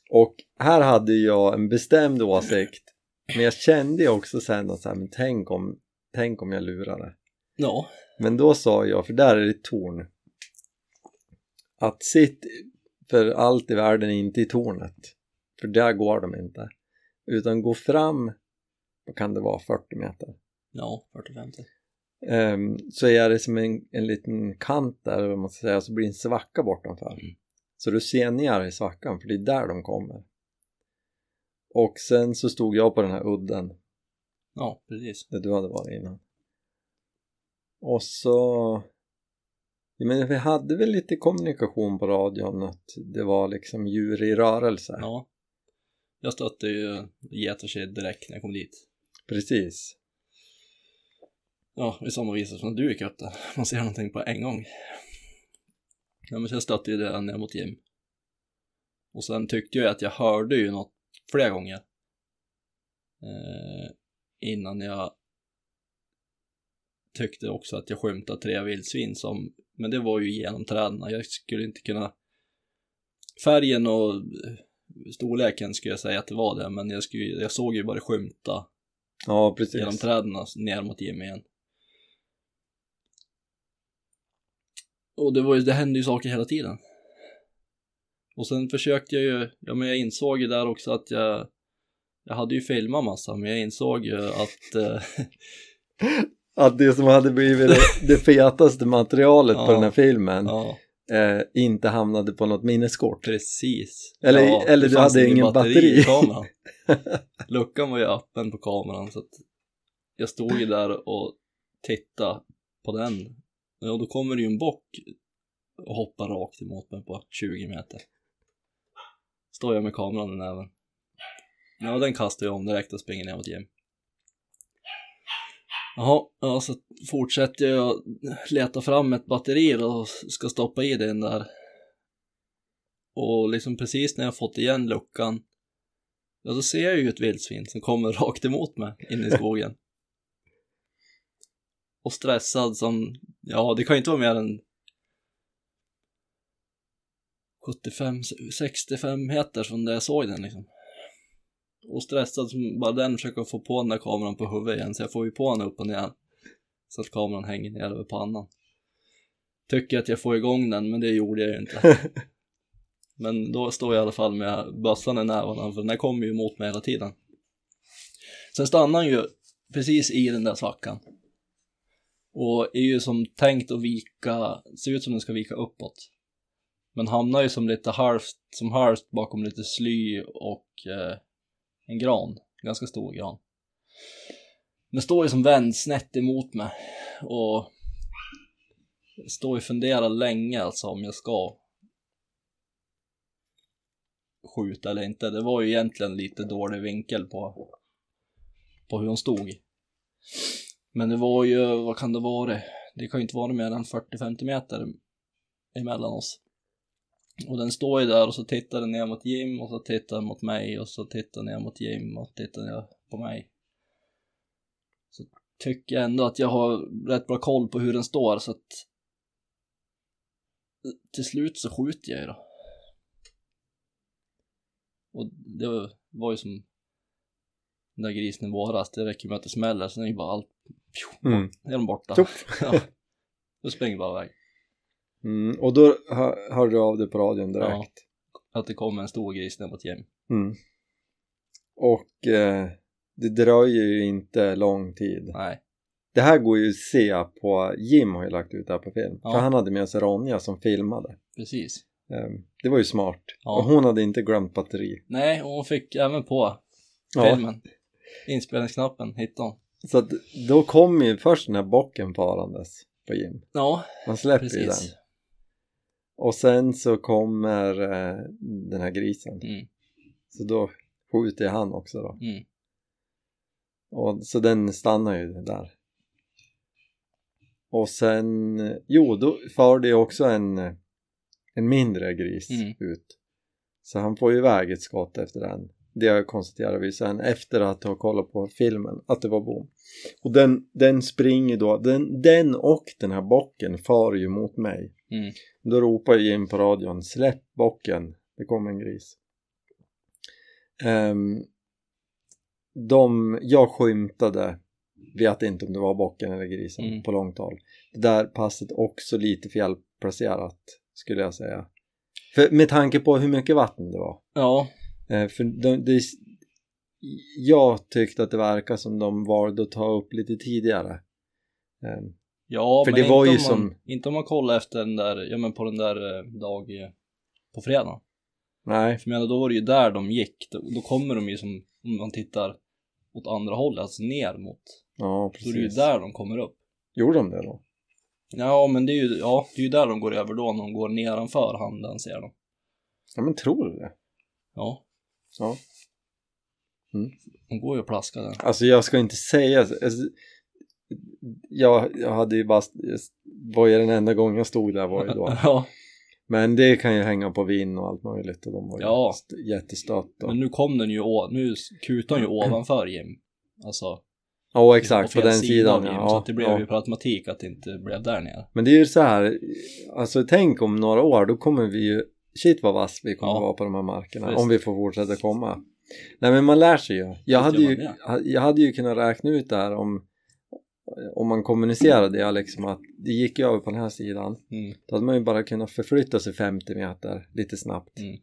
Speaker 1: Och här hade jag en bestämd åsikt. Men jag kände ju också sen att så här, men tänk om, tänk om jag lurade.
Speaker 2: Ja,
Speaker 1: Men då sa jag, för där är det torn. Att sitt för allt i världen inte i tornet. För där går de inte. Utan gå fram, vad kan det vara, 40 meter.
Speaker 2: ja 40-50.
Speaker 1: Ehm, så är det som en, en liten kant där, eller vad man ska säga, så blir det en svacka bortanför.
Speaker 2: Mm.
Speaker 1: Så du ser ner i svackan, för det är där de kommer. Och sen så stod jag på den här udden
Speaker 2: Ja, precis.
Speaker 1: där du hade varit innan. Och så... Jag menar, vi hade väl lite kommunikation på radion att det var liksom djur i rörelse.
Speaker 2: Ja. Jag stötte ju get och tjej direkt när jag kom dit.
Speaker 1: Precis.
Speaker 2: Ja, i samma visa som du gick upp där. Man ser någonting på en gång. Ja, men sen stötte ju det ner mot Jim. Och sen tyckte jag att jag hörde ju något flera gånger. Eh, innan jag tyckte också att jag skymtade tre vildsvin som, men det var ju genom träden. Jag skulle inte kunna, färgen och eh, storleken skulle jag säga att det var det, men jag, skulle, jag såg ju bara det skymta
Speaker 1: Ja, precis.
Speaker 2: genom träden och ner mot Jimmy igen. Och det, var ju, det hände ju saker hela tiden. Och sen försökte jag ju, ja men jag insåg ju där också att jag, jag hade ju filmat massa men jag insåg ju att, eh,
Speaker 1: Att det som hade blivit det, det fetaste materialet på
Speaker 2: Ja.
Speaker 1: den här filmen
Speaker 2: ja
Speaker 1: eh, inte hamnade på något minneskort.
Speaker 2: precis.
Speaker 1: Eller-
Speaker 2: ja,
Speaker 1: eller du
Speaker 2: fanns
Speaker 1: hade
Speaker 2: ingen
Speaker 1: ingen
Speaker 2: i
Speaker 1: batteri.
Speaker 2: kameran. Luckan var ju öppen på kameran så att jag stod ju där och tittade på den. Ja, då kommer det ju en bock och hoppar rakt emot mig på 20 meter. Står jag med kameran i näven. Ja, den kastar jag om direkt och springer ner mot Jim. Jaha, ja, så fortsätter jag leta fram ett batteri då och ska stoppa i den där. Och liksom precis när jag fått igen luckan, ja då ser jag ju ett vildsvin som kommer rakt emot mig in i skogen. Och stressad som, ja det kan ju inte vara mer än 75, 65 meter från där jag såg den liksom. Och stressad som bara den försöker få på den där kameran på huvudet igen, så jag får ju på den upp och ner. Så att kameran hänger ner över pannan. Tycker att jag får igång den, men det gjorde jag ju inte. Men då står jag i alla fall med bössan i nävarna för den här kommer ju emot mig hela tiden. Sen stannar han ju precis i den där svackan. Och är ju som tänkt att vika, ser ut som den ska vika uppåt. Men hamnar ju som lite halvt, som halvt bakom lite sly och eh, en gran, ganska stor gran. Den står ju som vänd snett emot mig och står ju och funderar länge alltså om jag ska skjuta eller inte. Det var ju egentligen lite dålig vinkel på, på hur hon stod. Men det var ju, vad kan det vara? Det kan ju inte vara mer än 40-50 meter emellan oss. Och den står ju där och så tittar den ner mot Jim och så tittar den mot mig och så tittar den ner mot Jim och tittar ner på mig. Så tycker jag ändå att jag har rätt bra koll på hur den står så att till slut så skjuter jag ju då. Och det var- var ju som den där grisen i våras, det räcker med att det smäller, sen är ju bara allt,
Speaker 1: Mm.
Speaker 2: är de borta.
Speaker 1: Tjoff!
Speaker 2: Ja. Då springer jag bara iväg.
Speaker 1: Mm. Och då hör, hörde du av dig på radion direkt.
Speaker 2: Ja. Att det kom en stor gris ner mot Jim.
Speaker 1: Mm. Och eh, det dröjer ju inte lång tid.
Speaker 2: Nej,
Speaker 1: Det här går ju att se på, Jim har ju lagt ut det här på film.
Speaker 2: Ja.
Speaker 1: För han hade med sig Ronja som filmade.
Speaker 2: precis.
Speaker 1: Ehm, Det var ju smart. Och
Speaker 2: Ja.
Speaker 1: hon hade inte glömt batteri.
Speaker 2: Nej, och hon fick även på
Speaker 1: Ja,
Speaker 2: filmen. Inspelningsknappen hittade hon.
Speaker 1: så att då kom ju först den här bocken farandes på Jim.
Speaker 2: Ja,
Speaker 1: Han släpper ju
Speaker 2: precis.
Speaker 1: den. Och sen så kommer eh, den här grisen.
Speaker 2: Mm.
Speaker 1: Så då skjuter jag han också då.
Speaker 2: Mm.
Speaker 1: Och, så den stannar ju där. Och sen, jo då förde jag också en, en mindre gris
Speaker 2: Mm.
Speaker 1: ut. Så han får ju iväg ett skott efter den. Det konstaterade vi sen efter att ha kollat på filmen att det var bom. Och den, den springer då, den, den och den här bocken far ju mot mig.
Speaker 2: Mm.
Speaker 1: Då ropar jag in på radion, släpp bocken, det kommer en gris. Ehm, de, jag skymtade, vet inte om det var bocken eller grisen
Speaker 2: Mm.
Speaker 1: på långt håll. Det där passet också lite felplacerat skulle jag säga. För, med tanke på hur mycket vatten det var.
Speaker 2: Ja,
Speaker 1: Eh, för de, det, jag tyckte att det verkar som de valde att ta upp lite tidigare. Eh,
Speaker 2: ja
Speaker 1: För
Speaker 2: men
Speaker 1: det var
Speaker 2: inte
Speaker 1: ju
Speaker 2: om man,
Speaker 1: som-
Speaker 2: Inte om man kollar efter den där, ja men på den där eh, dag eh, på fredagen.
Speaker 1: nej,
Speaker 2: För jag menar, då var det ju där de gick. Då, då kommer de ju som, om man tittar åt andra hållet, alltså ner mot.
Speaker 1: ja
Speaker 2: Då är det ju
Speaker 1: precis.
Speaker 2: där de kommer upp.
Speaker 1: Gjorde de det då?
Speaker 2: Ja, men det är ju, ja, det är ju där de går över då, när de går nedanför handen ser de.
Speaker 1: Ja men tror du det?
Speaker 2: Ja.
Speaker 1: Ja. Mm.
Speaker 2: De går ju och plaskar där.
Speaker 1: Alltså jag ska inte säga så- alltså, jag, jag hade ju bara var ju den enda gången jag stod där var ju då.
Speaker 2: Ja,
Speaker 1: Men det kan ju hänga på vin och allt möjligt och de var ju
Speaker 2: Ja.
Speaker 1: st- jättestött. Och,
Speaker 2: men nu kom den ju, å- nu kutar den ju ovanför Jim. Alltså,
Speaker 1: ja exakt, på,
Speaker 2: fel
Speaker 1: den
Speaker 2: sida av
Speaker 1: sidan.
Speaker 2: Jim,
Speaker 1: ja,
Speaker 2: så att det blev
Speaker 1: ja.
Speaker 2: ju per automatik att det inte blev där nere.
Speaker 1: Men det är ju så här, alltså tänk om några år, då kommer vi ju, shit vad vass vi kommer
Speaker 2: Ja.
Speaker 1: vara på de här markerna,
Speaker 2: Visst.
Speaker 1: om vi får fortsätta komma. Nej men man lär sig ju. Jag hade
Speaker 2: gör
Speaker 1: ju,
Speaker 2: man
Speaker 1: jag hade ju kunnat räkna ut det här om, om man kommunicerade det liksom att det gick ju över på den här sidan.
Speaker 2: Mm.
Speaker 1: Då hade man ju bara kunnat förflytta sig 50 meter lite snabbt.
Speaker 2: Mm.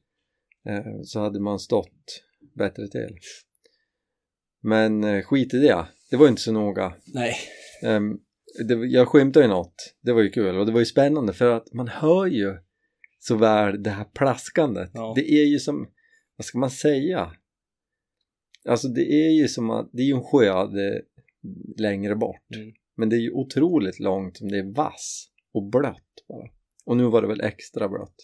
Speaker 1: Eh, Så hade man stått bättre till. Men eh, skit i det, det var ju inte så noga.
Speaker 2: Nej,
Speaker 1: Ehm, det, jag skymtade ju något, det var ju kul och det var ju spännande för att man hör ju så väl det här plaskandet.
Speaker 2: Ja.
Speaker 1: Det är ju som, vad ska man säga? Alltså det är ju som att, det är ju en sjö det, längre bort.
Speaker 2: Mm.
Speaker 1: Men det är ju otroligt långt som det är vass och blött bara. Och nu var det väl extra blött.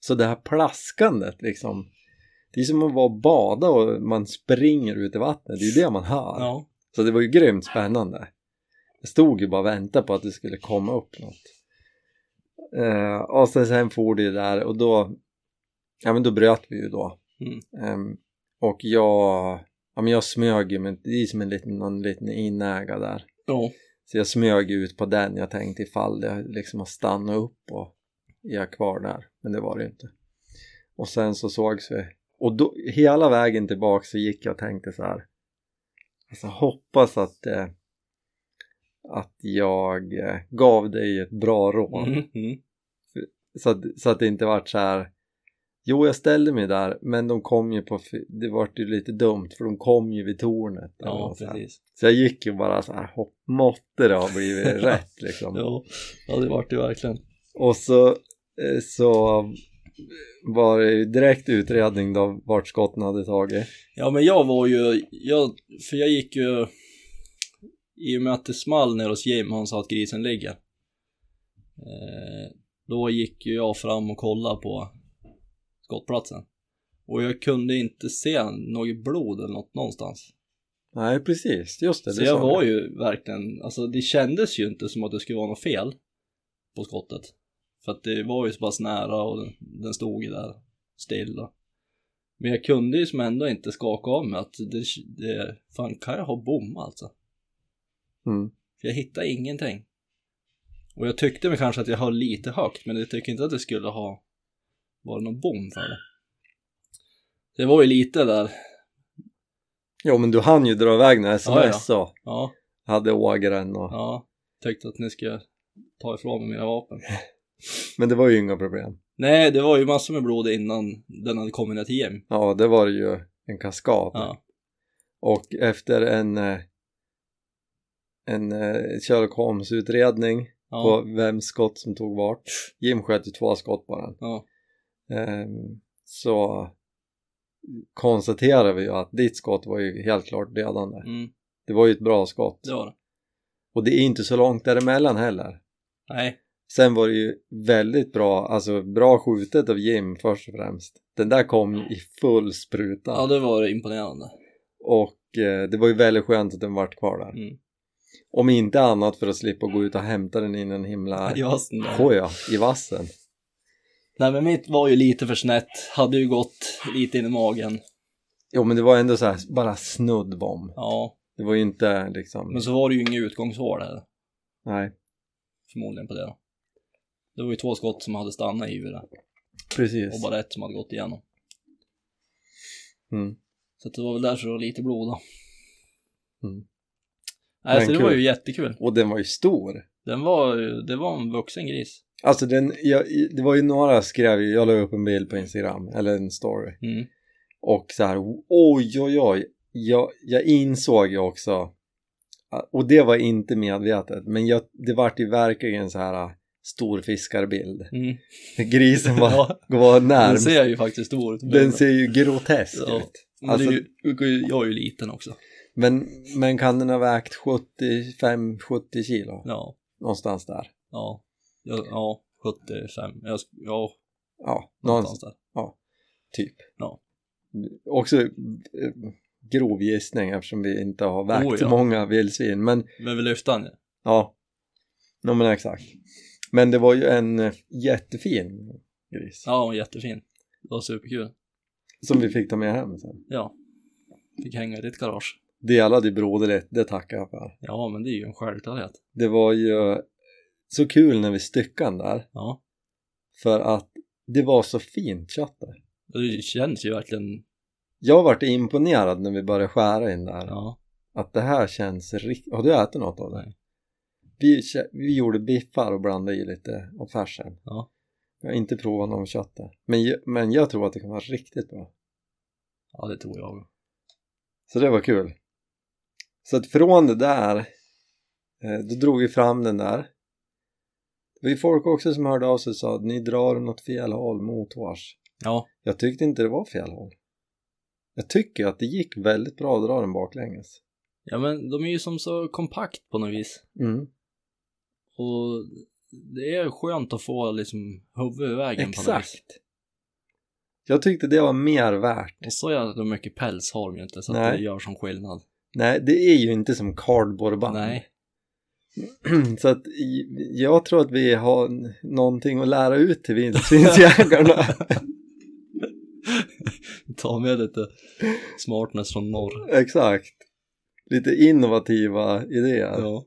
Speaker 1: Så det här plaskandet liksom, det är som att vara och bada och man springer ut i vattnet, det är ju det man hör.
Speaker 2: ja.
Speaker 1: Så det var ju grymt spännande. Jag stod ju bara och väntade på att det skulle komma upp något. Eh, och sen, sen for det ju där och då, ja men då bröt vi ju då.
Speaker 2: Mm.
Speaker 1: Ehm, och jag, ja men jag smög ju, men det är som en liten, någon liten inäga där.
Speaker 2: Ja,
Speaker 1: Så jag smög ut på den, jag tänkte ifall det liksom har stannat upp och är jag kvar där, men det var det ju inte. Och sen så sågs vi. Och då, hela vägen tillbaka så gick jag och tänkte så här. Alltså hoppas att, eh, att jag eh, gav dig ett bra råd.
Speaker 2: mm. Mm.
Speaker 1: Så, att, så att det inte vart så här. Jo, jag ställde mig där, men de kom ju på, fy- det vart ju lite dumt för de kom ju vid tornet. eller
Speaker 2: ja
Speaker 1: något så här.
Speaker 2: precis.
Speaker 1: Så jag gick ju bara så här, hopp, måtte det ha blivit rätt liksom.
Speaker 2: Ja, ja det vart det verkligen.
Speaker 1: Och så, eh, så var det ju direkt utredning då vart skotten hade tagit.
Speaker 2: Ja men jag var ju, jag, för jag gick ju i och med att det small ner hos Jim, han sa att grisen ligger. Eh, då gick ju jag fram och kollade på skottplatsen. Och jag kunde inte se något blod eller något någonstans.
Speaker 1: Nej, precis, just det.
Speaker 2: Så
Speaker 1: det
Speaker 2: jag
Speaker 1: sa
Speaker 2: var
Speaker 1: du.
Speaker 2: ju verkligen, alltså det kändes ju inte som att det skulle vara något fel på skottet. För att det var ju så pass nära och den, den stod ju där stilla. Men jag kunde ju som ändå inte skaka av mig att det, det fan kan jag ha bom alltså?
Speaker 1: Mm.
Speaker 2: För jag hittade ingenting. Och jag tyckte väl kanske att jag höll lite högt, men jag tycker inte att det skulle ha varit någon bom för det. Det var ju lite där,
Speaker 1: Jo, men du hann ju dra iväg när sms
Speaker 2: Ja, ja.
Speaker 1: så
Speaker 2: ja,
Speaker 1: hade ågren och...
Speaker 2: ja, tyckte att ni skulle ta ifrån mig mina vapen.
Speaker 1: Men det var ju inga problem.
Speaker 2: Nej, det var ju massor med blod innan den hade kommit ner till Jim.
Speaker 1: Ja, det var ju en kaskad.
Speaker 2: Ja,
Speaker 1: Och efter en, eh, en eh, Sherlock Holmes-utredning
Speaker 2: ja,
Speaker 1: på vems skott som tog vart. Jim sköt ju två skott på den.
Speaker 2: ja,
Speaker 1: Ehm, så konstaterar vi ju att ditt skott var ju helt klart dödande.
Speaker 2: mm,
Speaker 1: Det var ju ett bra skott.
Speaker 2: det var det.
Speaker 1: Och det är inte så långt däremellan heller.
Speaker 2: Nej,
Speaker 1: Sen var det ju väldigt bra, alltså bra skjutet av Jim först och främst. Den där kom ju i full spruta.
Speaker 2: ja det var imponerande.
Speaker 1: Och eh, det var ju väldigt skönt att den vart kvar där.
Speaker 2: Mm.
Speaker 1: Om inte annat för att slippa gå ut och hämta den innan himla
Speaker 2: i vassen där.
Speaker 1: koja i vassen.
Speaker 2: Nej men mitt var ju lite för snett, hade ju gått lite in i magen.
Speaker 1: Jo men det var ändå så här, bara snudd bom.
Speaker 2: Ja,
Speaker 1: Det var ju inte liksom,
Speaker 2: men så var det ju inget utgångshål här,
Speaker 1: nej
Speaker 2: förmodligen på det då. Det var ju två skott som hade stannat i huvudet
Speaker 1: precis.
Speaker 2: och bara ett som hade gått igenom.
Speaker 1: Mm.
Speaker 2: Så att det var väl därför det var lite blod då.
Speaker 1: Mm.
Speaker 2: Nej,
Speaker 1: Men
Speaker 2: så det var
Speaker 1: kul.
Speaker 2: ju jättekul.
Speaker 1: Och den var ju stor.
Speaker 2: Den var, ju- det var en vuxen gris.
Speaker 1: Alltså den, jag, det var ju några skrev ju, jag la upp en bild på Instagram, eller en story.
Speaker 2: Mm.
Speaker 1: Och så här, oj oj oj. Jag, jag insåg ju också, ah, och det var inte medvetet, men jag, det vart ju verkligen så här storfiskarbild.
Speaker 2: Mm.
Speaker 1: Grisen var,
Speaker 2: Ja,
Speaker 1: var
Speaker 2: den
Speaker 1: närmst.
Speaker 2: ser ju faktiskt stor ut.
Speaker 1: Den ser ju grotesk
Speaker 2: Ja.
Speaker 1: ut.
Speaker 2: Men
Speaker 1: alltså-
Speaker 2: det är ju, jag är ju liten också.
Speaker 1: Men, men kan den ha vägt 75-70 kilo?
Speaker 2: Ja,
Speaker 1: Någonstans där.
Speaker 2: ja, ja, ja 75, jag, sk- ja,
Speaker 1: Ja, någonstans.
Speaker 2: någonstans där.
Speaker 1: Typ.
Speaker 2: Ja.
Speaker 1: Också eh, grov gissning eftersom vi inte har vägt
Speaker 2: Oh, ja.
Speaker 1: så många vildsvin. Men
Speaker 2: Men vi lyfte han ju.
Speaker 1: ja, no, men exakt. Men det var ju en eh, jättefin gris
Speaker 2: Ja, jättefin. Det var superkul.
Speaker 1: som vi fick ta med hem sen.
Speaker 2: Ja. Fick hänga i ditt garage.
Speaker 1: Delade i broderligt, det tackar jag för.
Speaker 2: Ja, men det är ju en självklarhet.
Speaker 1: Det var ju eh, så kul när vi styckade den där
Speaker 2: Ja.
Speaker 1: för att det var så fint kött där.
Speaker 2: Det känns ju verkligen,
Speaker 1: Jag vart imponerad när vi började skära in där.
Speaker 2: ja.
Speaker 1: Att det här känns riktigt... Har du ätit något av det?
Speaker 2: Nej.
Speaker 1: Vi, kä- vi gjorde biffar och blandade i lite av färsen.
Speaker 2: Ja.
Speaker 1: Jag har inte provat någon köttet. Men, ju- men jag tror att det kan vara riktigt bra.
Speaker 2: Ja, det tror jag.
Speaker 1: Så det var kul. Så att från det där, eh, då drog vi fram den där. Det var ju folk också som hörde av sig och sa att ni drar den åt fel håll motvars.
Speaker 2: Ja,
Speaker 1: Jag tyckte inte det var fel håll. Jag tycker att det gick väldigt bra att dra den baklänges.
Speaker 2: ja men de är ju som så kompakt på något vis.
Speaker 1: Mm.
Speaker 2: Och det är skönt att få liksom huvudet i vägen på något vis.
Speaker 1: Exakt. Jag tyckte det var mer värt.
Speaker 2: Och så jävla mycket päls har de ju inte så att
Speaker 1: Nej.
Speaker 2: det gör som skillnad.
Speaker 1: Nej, det är ju inte som cardboardband.
Speaker 2: Nej,
Speaker 1: Så att i- jag tror att vi har n- någonting att lära ut till vildsvinsjägarna.
Speaker 2: ta med lite smartness från norr.
Speaker 1: Exakt. Lite innovativa idéer.
Speaker 2: Ja.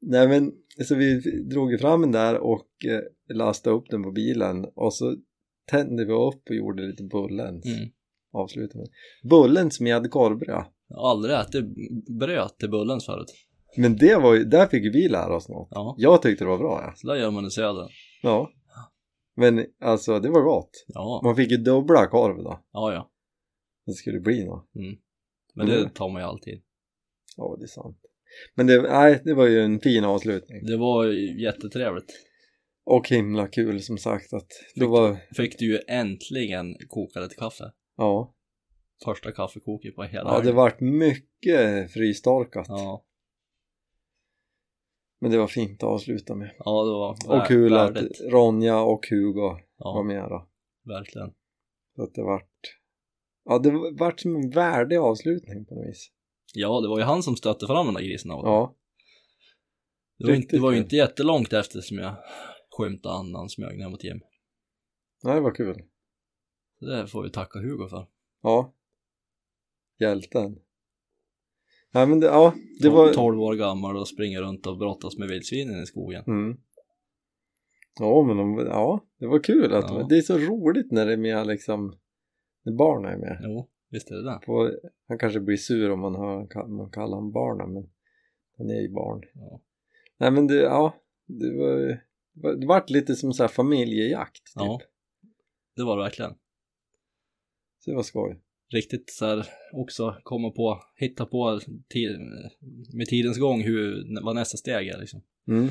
Speaker 1: Nej men, så vi drog ju fram den där och eh, lastade upp den på bilen och så tände vi upp och gjorde lite bullens.
Speaker 2: Mm.
Speaker 1: Avslutade med. Bullens med korvbröd.
Speaker 2: Jag har aldrig ätit bröd till Bullens förut.
Speaker 1: Men det var ju, där fick vi lära oss något.
Speaker 2: Ja,
Speaker 1: Jag tyckte det var bra. Ja.
Speaker 2: så där gör man i söder.
Speaker 1: Ja. Men alltså det var gott.
Speaker 2: Ja,
Speaker 1: Man fick ju dubbla korv då.
Speaker 2: ja, ja.
Speaker 1: Det skulle bli något.
Speaker 2: Men
Speaker 1: Mm.
Speaker 2: det tar man ju alltid.
Speaker 1: Ja, det är sant. Men det, nej, det var ju en fin avslutning.
Speaker 2: Det var ju jättetrevligt.
Speaker 1: Och himla kul som sagt att det var,
Speaker 2: Fick du ju äntligen koka lite kaffe.
Speaker 1: ja,
Speaker 2: Första kaffekoket på hela
Speaker 1: ja det
Speaker 2: helgen.
Speaker 1: vart mycket frystorkat.
Speaker 2: Ja,
Speaker 1: Men det var fint att avsluta med.
Speaker 2: ja, det var
Speaker 1: Och
Speaker 2: vär-
Speaker 1: kul att
Speaker 2: värdigt.
Speaker 1: Ronja och Hugo var
Speaker 2: Ja,
Speaker 1: med då.
Speaker 2: verkligen.
Speaker 1: Så att det vart, ja det vart som en värdig avslutning på något vis.
Speaker 2: Ja, det var ju han som stötte fram den där grisen av
Speaker 1: Ja,
Speaker 2: Det var, inte,
Speaker 1: Riktigt
Speaker 2: det var ju
Speaker 1: kul.
Speaker 2: inte jättelångt efter som jag skymtade annan smög ner mot Jim.
Speaker 1: nej, det var kul.
Speaker 2: Så Det får vi tacka Hugo för.
Speaker 1: Ja, hjälten. Ja, men det, ja, det
Speaker 2: Tol-
Speaker 1: var...
Speaker 2: 12 år gammal och springer runt och brottas med vildsvinen i skogen.
Speaker 1: Mm. Ja, men de, ja, det var kul. Att,
Speaker 2: Ja.
Speaker 1: Det är så roligt när det är med liksom, när barn är med.
Speaker 2: Jo, visst är det det.
Speaker 1: På, han kanske blir sur om man, hör, man kallar honom barn, men han är ju barn.
Speaker 2: Ja.
Speaker 1: Nej, men det, ja, det var det vart lite som så här familjejakt typ.
Speaker 2: Ja. Det var det verkligen.
Speaker 1: Så det var skoj.
Speaker 2: Riktigt så här också komma på, hitta på ti- med tidens gång hur, vad nästa steg är liksom.
Speaker 1: Mm.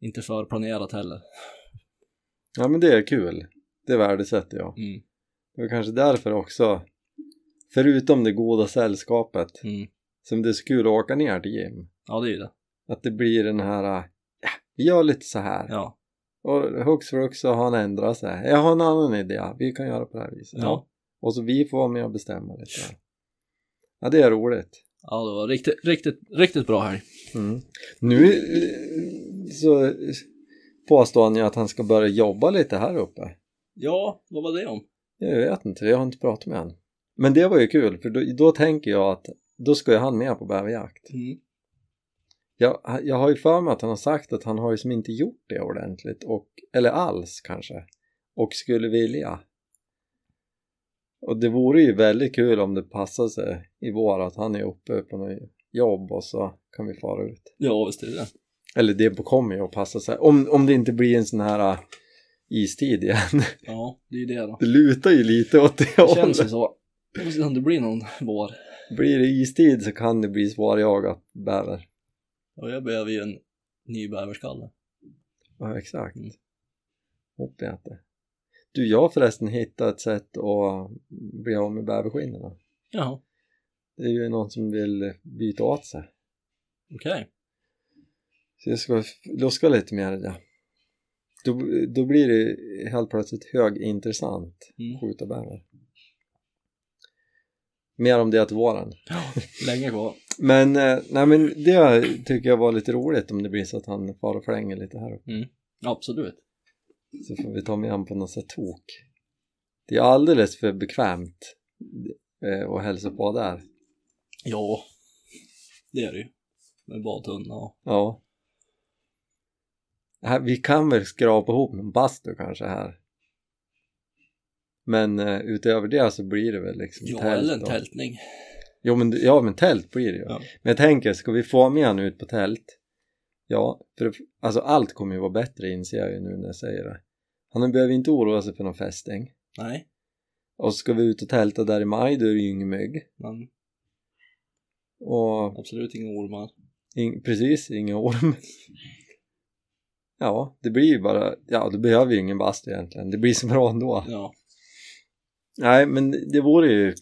Speaker 2: Inte för planerat heller.
Speaker 1: Ja, men det är kul. Det värdesätter jag.
Speaker 2: Mm,
Speaker 1: Det var kanske därför också, förutom det goda sällskapet,
Speaker 2: mm.
Speaker 1: som det är så kul att åka ner till gym.
Speaker 2: Ja, det är ju det.
Speaker 1: Att det blir den här, äh, ja, vi gör lite så här.
Speaker 2: Ja.
Speaker 1: Och hux flux så har han ändrat sig. Jag har en annan idé, vi kan göra på det här viset.
Speaker 2: Ja.
Speaker 1: Och så vi får vara med och bestämma lite. Ja, det är roligt.
Speaker 2: Ja, det var riktigt, riktigt, riktigt bra helg.
Speaker 1: Mm. Nu eh, så påstår han ju att han ska börja jobba lite här uppe.
Speaker 2: Ja, vad var det om?
Speaker 1: Jag vet inte, jag har inte pratat med honom. Men det var ju kul, för då, då tänker jag att då ska ju han med på bäverjakt.
Speaker 2: Mm.
Speaker 1: Jag, jag har ju för mig att han har sagt att han har ju som inte gjort det ordentligt, och, eller alls kanske, och skulle vilja. Och det vore ju väldigt kul om det passade sig i vår att han är uppe på något jobb och så kan vi fara ut.
Speaker 2: Ja, visst är det det.
Speaker 1: Eller det kommer ju att passa sig. Om, om det inte blir en sån här äh, istid igen.
Speaker 2: Ja, det är ju det då.
Speaker 1: Det lutar ju lite åt det
Speaker 2: Det känns ju
Speaker 1: hållet.
Speaker 2: så. Jag vet inte om det blir någon vår.
Speaker 1: Blir det istid så kan det bli svårjagat bäver.
Speaker 2: Och jag behöver ju en ny bäverskalle.
Speaker 1: Ja, exakt.
Speaker 2: Mm.
Speaker 1: Hoppas det. Du, jag har förresten hittat ett sätt att bli av med bäverskinnorna.
Speaker 2: Jaha,
Speaker 1: Det är ju någon som vill byta åt sig.
Speaker 2: okej.
Speaker 1: Så jag ska luska lite mer i det. Då, då blir det helt plötsligt högintressant
Speaker 2: Mm.
Speaker 1: skjuta bäver. Mer om det till våren.
Speaker 2: Länge kvar.
Speaker 1: Men, eh, nej, men det tycker jag var lite roligt om det blir så att han bara flänger lite här uppe.
Speaker 2: Absolut.
Speaker 1: Så får vi ta med honom på något sätt tok. Det är alldeles för bekvämt eh, att hälsa på där.
Speaker 2: Ja, det är det ju. Med badtunna och...
Speaker 1: Ja. Här, vi kan väl skrapa ihop någon bastu kanske här. Men eh, utöver det så blir det väl liksom
Speaker 2: Ja, eller en
Speaker 1: då.
Speaker 2: tältning.
Speaker 1: Jo, men, ja, men tält blir det ju.
Speaker 2: Ja.
Speaker 1: Men jag tänker, ska vi få med honom ut på tält? Ja, för det, alltså allt kommer ju vara bättre inser jag ju nu när jag säger det. Han behöver inte oroa sig för någon fästing.
Speaker 2: Nej,
Speaker 1: Och ska vi ut och tälta där i maj, då är det ju ingen mygg.
Speaker 2: men
Speaker 1: Och
Speaker 2: absolut inga ormar.
Speaker 1: in, precis, ingen orm. Ja, det blir ju bara, ja, då behöver vi ju ingen bastu egentligen. Det blir så bra ändå.
Speaker 2: Ja,
Speaker 1: Nej, men det vore ju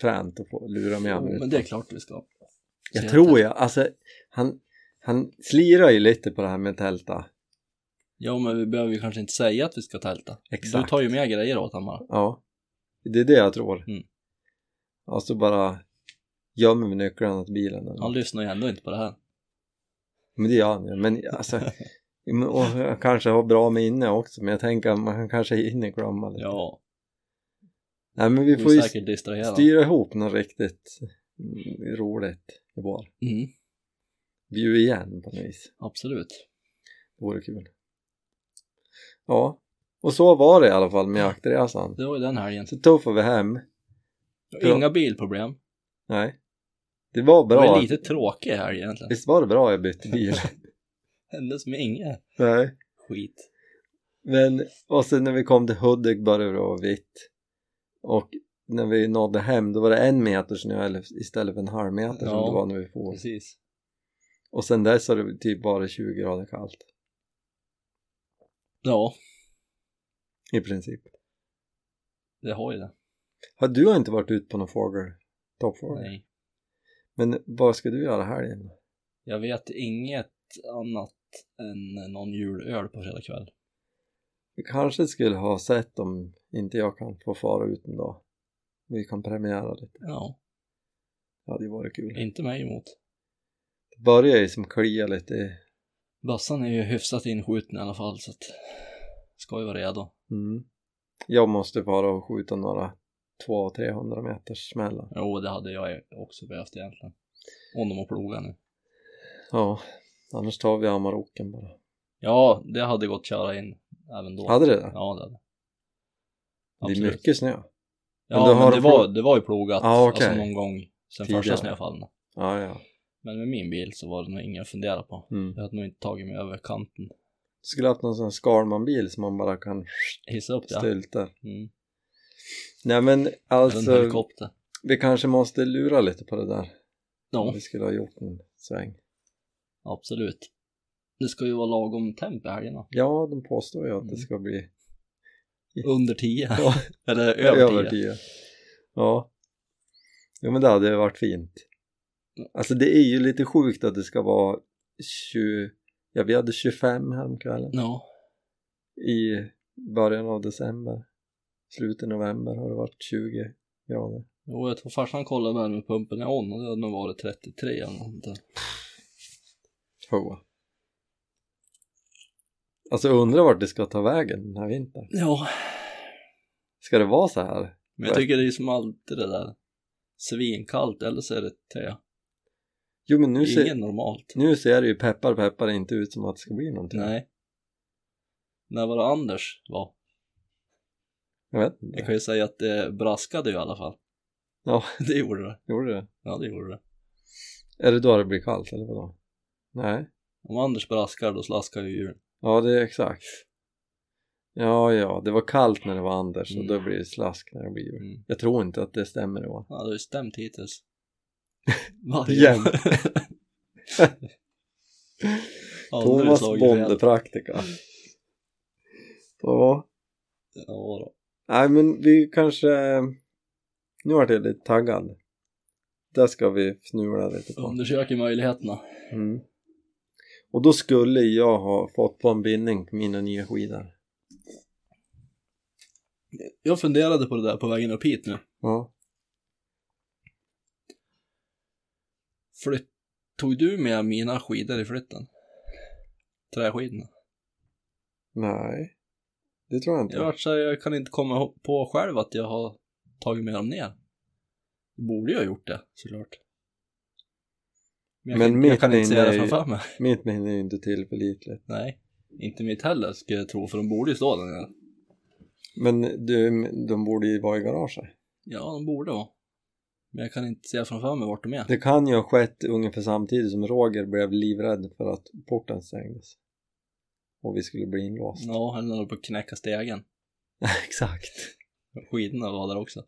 Speaker 1: fränt att få lura med
Speaker 2: jo,
Speaker 1: honom ut.
Speaker 2: men det är klart vi ska.
Speaker 1: Jag
Speaker 2: Tälta.
Speaker 1: tror jag, alltså han, han slirar ju lite på det här med tälta.
Speaker 2: Ja, men vi behöver ju kanske inte säga att vi ska tälta.
Speaker 1: Exakt.
Speaker 2: Du tar ju med grejer åt han bara.
Speaker 1: Ja, det är det jag tror.
Speaker 2: Mm.
Speaker 1: Och så bara gömmer vi nycklarna till bilen. Eller?
Speaker 2: Han
Speaker 1: något.
Speaker 2: lyssnar ju ändå inte på det här.
Speaker 1: Men det gör han ju. Men alltså, men- och jag kanske har bra minne också, men jag tänker att man kanske hinner glömma lite.
Speaker 2: Ja,
Speaker 1: Nej, men vi
Speaker 2: vi
Speaker 1: får
Speaker 2: är
Speaker 1: ju
Speaker 2: säkert distraherad.
Speaker 1: styra ihop något riktigt mm, roligt i vår.
Speaker 2: Mm,
Speaker 1: Bjuda igen på något vis.
Speaker 2: absolut.
Speaker 1: Det vore kul. Ja, och så var det i alla fall med jaktresan.
Speaker 2: Det var ju den helgen.
Speaker 1: Så tuffade vi hem. Ja.
Speaker 2: Inga bilproblem.
Speaker 1: Nej. Det var
Speaker 2: Det var
Speaker 1: bra.
Speaker 2: ju lite tråkig helg egentligen.
Speaker 1: Visst var det bra jag bytte bil?
Speaker 2: Hände som inget
Speaker 1: Nej.
Speaker 2: skit.
Speaker 1: Men, och sen när vi kom till Hudik började det vara vitt. Och när vi nådde hem då var det en meter snö eller- istället för en halv meter som
Speaker 2: Ja.
Speaker 1: det var när vi for.
Speaker 2: Precis.
Speaker 1: Och sen dess har det typ bara 20 grader kallt
Speaker 2: Ja,
Speaker 1: i princip.
Speaker 2: det har ju det.
Speaker 1: Har du inte varit ut på någon fågel? Toppfågel?
Speaker 2: Nej.
Speaker 1: Men vad ska du göra här inne?
Speaker 2: Jag vet inget annat än någon julöl på fredag kväll.
Speaker 1: Vi kanske skulle ha sett om inte jag kan få fara ut en dag. Vi kan premiera lite.
Speaker 2: Ja,
Speaker 1: Ja, det vore kul.
Speaker 2: inte mig emot.
Speaker 1: Det börjar ju som klia lite i
Speaker 2: Bassan är ju hyfsat inskjuten i alla fall så att ska ju vara redo.
Speaker 1: Mm. Jag måste bara och skjuta några 200-300 meters smällar.
Speaker 2: Jo, det hade jag ju också behövt egentligen. Om de har plogat nu.
Speaker 1: Ja, annars tar vi Amaroken bara.
Speaker 2: Ja, det hade gått att köra in även då.
Speaker 1: Hade det det?
Speaker 2: Ja, det hade.
Speaker 1: Det är mycket snö.
Speaker 2: Ja,
Speaker 1: då
Speaker 2: men,
Speaker 1: har
Speaker 2: det,
Speaker 1: de
Speaker 2: var,
Speaker 1: plog-
Speaker 2: det var ju plogat
Speaker 1: Ja, okej.
Speaker 2: alltså någon gång sen första
Speaker 1: Tidigare.
Speaker 2: snöfallen.
Speaker 1: Ja, ja.
Speaker 2: Men med min bil så var det nog inget att fundera på.
Speaker 1: Mm.
Speaker 2: Jag hade nog inte tagit mig över kanten.
Speaker 1: Skulle haft någon sån här Skalman-bil som man bara kan
Speaker 2: Hissa upp det. ja.
Speaker 1: stylta.
Speaker 2: Mm.
Speaker 1: Nej men
Speaker 2: Alltså... En
Speaker 1: alltså,
Speaker 2: helikopter.
Speaker 1: vi kanske måste lura lite på det där.
Speaker 2: Ja,
Speaker 1: Vi skulle ha gjort en sväng.
Speaker 2: absolut. Det ska ju vara lagom temp i helgerna.
Speaker 1: Ja, de påstår ju att det
Speaker 2: Mm.
Speaker 1: ska bli
Speaker 2: Under 10.
Speaker 1: Ja.
Speaker 2: Eller
Speaker 1: över
Speaker 2: över 10.
Speaker 1: 10. Ja. Jo men det hade ju varit fint. Alltså det är ju lite sjukt att det ska vara 20, ja vi hade 25 häromkvällen.
Speaker 2: Ja,
Speaker 1: i början av december. Slutet av november har det varit 20 grader.
Speaker 2: Jo, jag tror farsan kollade värmepumpen i on och det hade nog varit 33 eller något. där.
Speaker 1: Hoa. Alltså jag undrar vart det ska ta vägen den här vintern.
Speaker 2: Ja,
Speaker 1: Ska det vara så här?
Speaker 2: men jag tycker det är som alltid det där svinkallt eller så är det te.
Speaker 1: Jo men nu ser,
Speaker 2: Ingen normalt.
Speaker 1: nu ser det ju peppar peppar inte ut som att det ska bli någonting.
Speaker 2: Nej. När var det Anders var?
Speaker 1: Jag vet
Speaker 2: Jag
Speaker 1: inte.
Speaker 2: kan ju säga att det braskade ju i alla fall.
Speaker 1: Ja.
Speaker 2: Det gjorde det.
Speaker 1: Gjorde det?
Speaker 2: Ja, det gjorde det.
Speaker 1: Är det då det blir kallt eller vadå? Nej.
Speaker 2: Om Anders braskar då slaskar ju djuren.
Speaker 1: Ja det är exakt. Ja ja, det var kallt när det var Anders och då
Speaker 2: Mm.
Speaker 1: blir det slask när det blir jul.
Speaker 2: Mm.
Speaker 1: Jag tror inte att det stämmer i år.
Speaker 2: Ja, det har ju stämt hittills. Varje
Speaker 1: Jämt.
Speaker 2: Aldrig
Speaker 1: Thomas
Speaker 2: slagit
Speaker 1: Bonde
Speaker 2: fel.
Speaker 1: praktika. Ja.
Speaker 2: Ja, då.
Speaker 1: Nej men vi kanske... Nu vart jag lite taggad. Där ska vi fnula lite på.
Speaker 2: Undersöker möjligheterna.
Speaker 1: Mm. Och då skulle jag ha fått på en bindning på mina nya skidor.
Speaker 2: Jag funderade på det där på vägen upp hit nu.
Speaker 1: Ja.
Speaker 2: Flytt... Tog du med mina skidor i flytten? Träskidorna?
Speaker 1: Nej. Det tror jag inte.
Speaker 2: Jag vart så här, jag kan inte komma ihå- på själv att jag har tagit med dem ner. Borde jag ha gjort det, såklart. Men jag,
Speaker 1: Men
Speaker 2: kan- jag kan
Speaker 1: mitt
Speaker 2: inte se
Speaker 1: inne
Speaker 2: det
Speaker 1: i-
Speaker 2: framför mig.
Speaker 1: Mitt minne är ju inte tillförlitligt.
Speaker 2: Nej, inte mitt heller skulle jag tro, för de borde ju stå där nere.
Speaker 1: Men du, de borde ju vara i garaget.
Speaker 2: Ja, de borde vara. Men jag kan inte se framför mig vart de är.
Speaker 1: Det kan ju ha skett ungefär samtidigt som Roger blev livrädd för att porten stängdes. Och vi skulle bli inlåsta.
Speaker 2: Ja, eller när de på att knäcka stegen.
Speaker 1: Exakt.
Speaker 2: Skidorna var där också.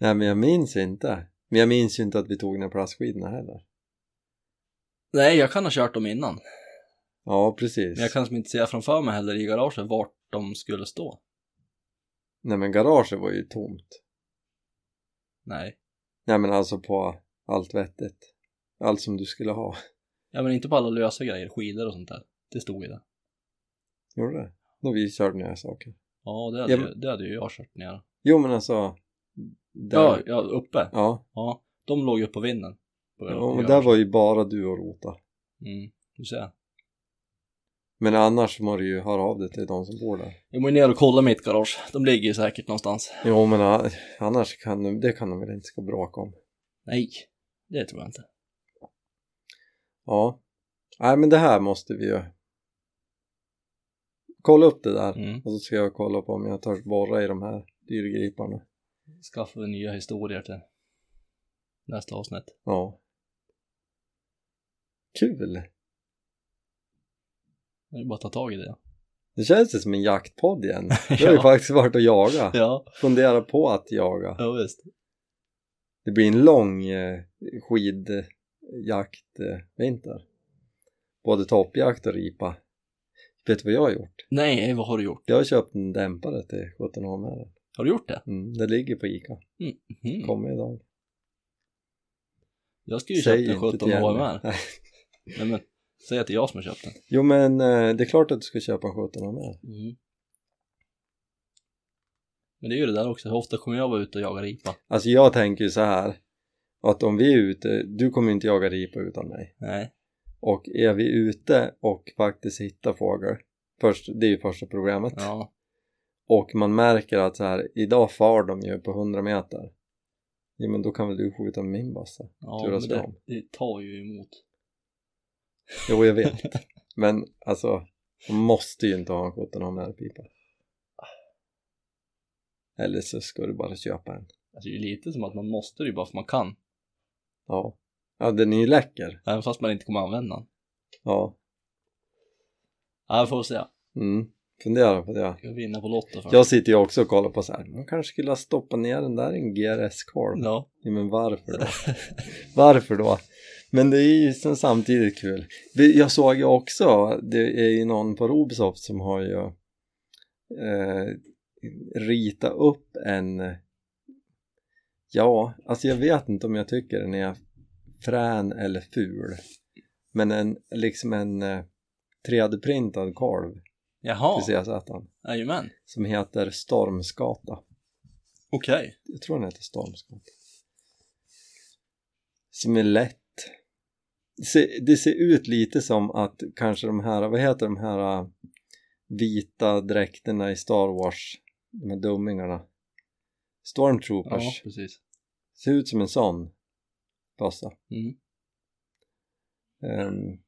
Speaker 1: Nej men jag minns inte. Men jag minns ju inte att vi tog några plastskidorna heller.
Speaker 2: Nej, jag kan ha kört dem innan.
Speaker 1: Ja precis.
Speaker 2: Men jag kan som inte se framför mig heller i garaget vart de skulle stå.
Speaker 1: Nej men garaget var ju tomt.
Speaker 2: Nej.
Speaker 1: Nej men alltså på allt vettigt. Allt som du skulle ha.
Speaker 2: Ja, men inte på alla lösa grejer, skidor och sånt där. Det stod ju där.
Speaker 1: Gjorde det? När vi körde ner saker.
Speaker 2: Ja, det hade,
Speaker 1: Ja,
Speaker 2: ju, det hade ju jag kört ner.
Speaker 1: Jo men alltså. Där.
Speaker 2: Ja, ja, uppe.
Speaker 1: Ja.
Speaker 2: Ja, de låg ju på vinden. På
Speaker 1: ja.
Speaker 2: på
Speaker 1: Och där
Speaker 2: garaget.
Speaker 1: var ju bara du och rota.
Speaker 2: Mm, du ser.
Speaker 1: Men annars må du ju höra av dig till de som bor där.
Speaker 2: Jag må ju ner och kolla mitt garage. De ligger ju säkert någonstans.
Speaker 1: Jo men a- annars kan de, det kan de väl inte ska bråka om.
Speaker 2: Nej, det tror jag inte.
Speaker 1: Ja. Nej men det här måste vi ju. Kolla upp det där.
Speaker 2: Mm.
Speaker 1: Och så ska jag kolla på om jag törs borra i de här dyrgriparna.
Speaker 2: Skaffar vi nya historier till nästa avsnitt.
Speaker 1: Ja. Kul!
Speaker 2: Det är ju bara att ta tag i det.
Speaker 1: Det känns ju som en jaktpodd igen. Vi har ju
Speaker 2: Ja.
Speaker 1: faktiskt varit och jaga.
Speaker 2: Ja,
Speaker 1: Fundera på att jaga.
Speaker 2: ja visst.
Speaker 1: Det blir en lång eh, skidjaktvinter. Både toppjakt och ripa. Vet du vad jag har gjort?
Speaker 2: Nej, vad har du gjort?
Speaker 1: Jag har köpt en dämpare till 17 h
Speaker 2: Har du gjort det?
Speaker 1: mm, Det ligger på Ica.
Speaker 2: Mhm.
Speaker 1: Kommer idag.
Speaker 2: Jag skulle ju
Speaker 1: Säg
Speaker 2: köpt en
Speaker 1: inte till
Speaker 2: 17
Speaker 1: Jenny.
Speaker 2: HMR.
Speaker 1: Nej.
Speaker 2: Nej men, säg att det är jag som har köpt den.
Speaker 1: Jo men eh, det är klart att du ska köpa en 17 h
Speaker 2: Men det är ju det där också, hur ofta kommer jag vara ute och jaga ripa?
Speaker 1: Alltså jag tänker ju så här. Att om vi är ute, du kommer ju inte jaga ripa utan mig.
Speaker 2: Nej.
Speaker 1: Och är vi ute och faktiskt hittar fågel, först, det är ju första programmet,
Speaker 2: Ja.
Speaker 1: och man märker att så här, idag far de ju på 100 meter. Ja men då kan väl du skjuta med min bassa?
Speaker 2: ja
Speaker 1: Turas
Speaker 2: men
Speaker 1: vi
Speaker 2: det,
Speaker 1: om.
Speaker 2: det tar ju emot. Alltså,
Speaker 1: Jo jag vet. men alltså, man måste ju inte ha en 17 här pipa. Eller så ska du bara köpa en.
Speaker 2: Alltså det är ju lite som att man måste det ju bara för man kan.
Speaker 1: Ja. Ja den är ju läcker.
Speaker 2: Även fast man inte kommer använda den.
Speaker 1: Ja.
Speaker 2: Ja, vi får se.
Speaker 1: Mm. Fundera på det.
Speaker 2: Ska vinna på Lotto först.
Speaker 1: Jag sitter ju också och kollar på så här, man kanske skulle ha stoppat ner den där i en GRS-korv.
Speaker 2: Ja.
Speaker 1: Ja, men varför då? Varför då? Men det är ju sen samtidigt kul. Det- Jag såg ju också, det är ju någon på Robsoft som har ju eh, ritat upp en, ja, alltså jag vet inte om jag tycker den är frän eller ful, men en, liksom en eh, 3D-printad korv
Speaker 2: Jaha,
Speaker 1: till CZ
Speaker 2: jajamän.
Speaker 1: som heter Stormskata.
Speaker 2: Okej.
Speaker 1: jag tror den heter stormskott. Som är lätt. Det ser, det ser ut lite som att kanske de här, vad heter de här äh, vita dräkterna i Star Wars? De här dummingarna. Stormtroopers.
Speaker 2: Ja, precis.
Speaker 1: Ser ut som en sån bössa.
Speaker 2: Mm.
Speaker 1: Ehm,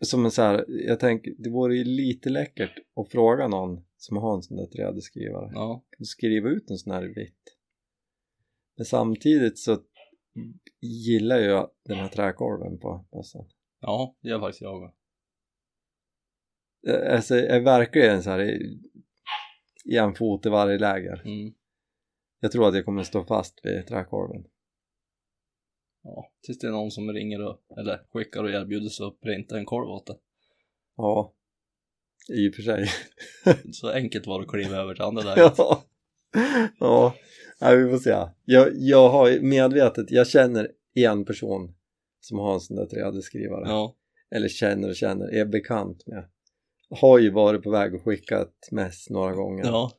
Speaker 1: som en så här, jag tänker, det vore ju lite läckert att fråga någon som har en sån där 3D-skrivare
Speaker 2: Ja.
Speaker 1: skriva ut en sån här i vitt. Men samtidigt så gillar jag den här träkolven på bössan.
Speaker 2: ja, det gör faktiskt jag med.
Speaker 1: Eh, Alltså jag är verkligen så här i, i en fot i varje läger.
Speaker 2: Mm.
Speaker 1: Jag tror att jag kommer stå fast vid träkolven.
Speaker 2: Ja. Tills det är någon som ringer och, eller skickar och erbjuder sig att printa en korv åt det.
Speaker 1: Ja, i och för sig.
Speaker 2: Så enkelt var det att kliva över till andra läget.
Speaker 1: ja. ja, Nej, vi får se. Jag, jag har ju medvetet, jag känner en person som har en sån där 3D-skrivare.
Speaker 2: Ja.
Speaker 1: eller känner och känner, är bekant med. Har ju varit på väg att skicka ett mess några gånger.
Speaker 2: Ja.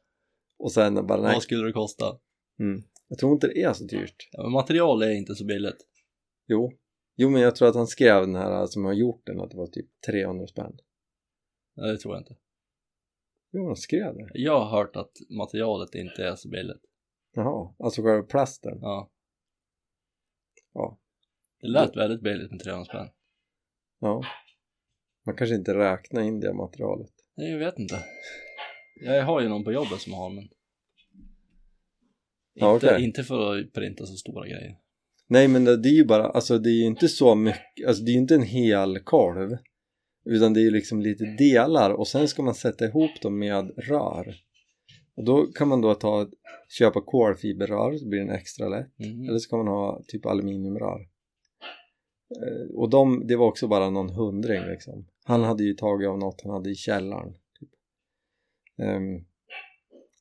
Speaker 1: Och sen bara nej,
Speaker 2: Vad skulle det kosta?
Speaker 1: jag tror inte det är så dyrt.
Speaker 2: Ja, men material är inte så billigt.
Speaker 1: Jo. Jo men jag tror att han skrev den här alltså, som har gjort den att det var typ 300 spänn.
Speaker 2: Nej, det tror jag inte.
Speaker 1: Jo han skrev det.
Speaker 2: Jag har hört att materialet inte är så billigt.
Speaker 1: Jaha, alltså själva plasten.
Speaker 2: Ja.
Speaker 1: Ja.
Speaker 2: Det lät väldigt billigt med 300 spänn.
Speaker 1: Ja. Man kanske inte räknar in det materialet.
Speaker 2: Nej, jag vet inte. Jag har ju någon på jobbet som har men...
Speaker 1: Ja,
Speaker 2: inte,
Speaker 1: okej.
Speaker 2: inte för att printa så stora grejer.
Speaker 1: Nej men det, det är ju bara, alltså det är ju inte så mycket, alltså det är ju inte en hel kolv. Utan det är ju liksom lite
Speaker 2: Mm.
Speaker 1: delar och sen ska man sätta ihop dem med rör. Och då kan man då ta, köpa kolfiberrör så blir den extra lätt.
Speaker 2: Mm.
Speaker 1: Eller så kan man ha typ aluminiumrör. Eh, Och de, det var också bara någon hundring liksom. Han hade ju tagit av något han hade i källaren. Typ. Ehm,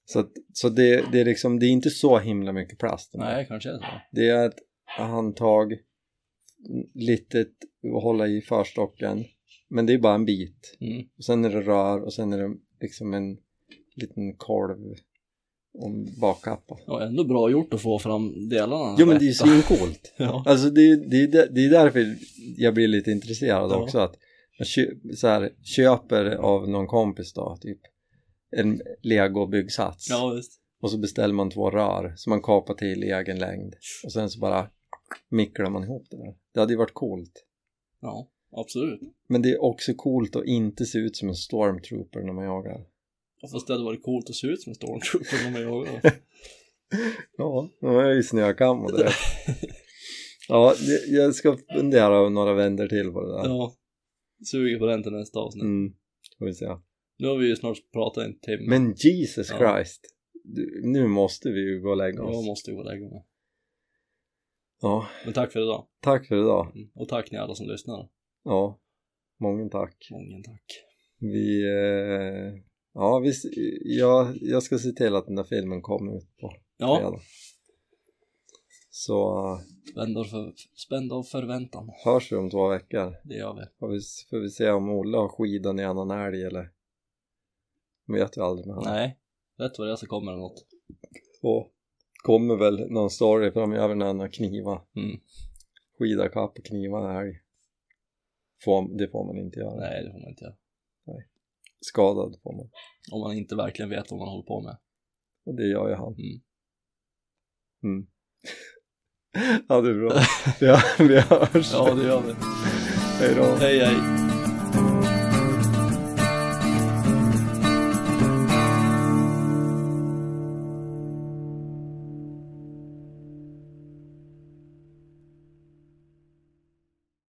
Speaker 1: så att, så det, det är liksom, det är inte så himla mycket plast.
Speaker 2: Nej, kanske är det så.
Speaker 1: Det är ett handtag, litet att hålla i förstocken, men det är bara en bit.
Speaker 2: Mm.
Speaker 1: Och sen är det rör och sen är det liksom en liten kolv och en bakkappa.
Speaker 2: Ja, ändå bra gjort att få fram delarna.
Speaker 1: Jo men det är ju
Speaker 2: rätta.
Speaker 1: svincoolt!
Speaker 2: Ja.
Speaker 1: Alltså det är, det, är, där- det är därför jag blir lite intresserad
Speaker 2: Ja.
Speaker 1: också att jag kö- så här, köper av någon kompis då typ en legobyggsats
Speaker 2: ja, visst.
Speaker 1: och så beställer man två rör som man kapar till i egen längd och sen så bara micklar man ihop det där. Det hade ju varit coolt.
Speaker 2: Ja, absolut.
Speaker 1: Men det är också coolt att inte se ut som en stormtrooper när man jagar.
Speaker 2: Fast det hade varit coolt att se ut som en stormtrooper när man jagar.
Speaker 1: Ja, de är ju snökam och det. Ja, det- jag ska fundera några vänder till på det där.
Speaker 2: Ja. Suger på den till nästa avsnitt.
Speaker 1: Mm, får vi se.
Speaker 2: Nu har vi ju snart pratat en timme.
Speaker 1: Men Jesus
Speaker 2: Ja.
Speaker 1: Christ, du, nu måste vi ju gå och lägga
Speaker 2: Jag
Speaker 1: oss.
Speaker 2: måste ju gå och lägga mig.
Speaker 1: Ja,
Speaker 2: Men tack för idag.
Speaker 1: tack för idag.
Speaker 2: Mm. Och tack ni alla som lyssnar.
Speaker 1: Ja, många tack.
Speaker 2: Många tack.
Speaker 1: Vi, eh, ja, vi, s- jag, jag ska se till att den där filmen kommer ut på
Speaker 2: Ja,
Speaker 1: fredag. Så eh,
Speaker 2: spänd av, för, spänd av förväntan.
Speaker 1: hörs vi om två veckor.
Speaker 2: Det gör vi.
Speaker 1: Får vi, s- får vi se om Olle har skidan i annan älg eller? Man vet ju aldrig med honom.
Speaker 2: Nej, rätt vad det är så kommer det något.
Speaker 1: Och kommer väl någon story framöver när han har kniva.
Speaker 2: Mm.
Speaker 1: Skida kapp och kniva älg. Får, det får man inte göra.
Speaker 2: Nej, det får man inte göra.
Speaker 1: Skadad får man.
Speaker 2: Om man inte verkligen vet vad man håller på med.
Speaker 1: Och det gör ju han.
Speaker 2: Mm.
Speaker 1: Mm. ja, det Mm. är bra. Ja, vi hörs.
Speaker 2: Ja, det gör vi.
Speaker 1: Hej då.
Speaker 2: Hej, hej.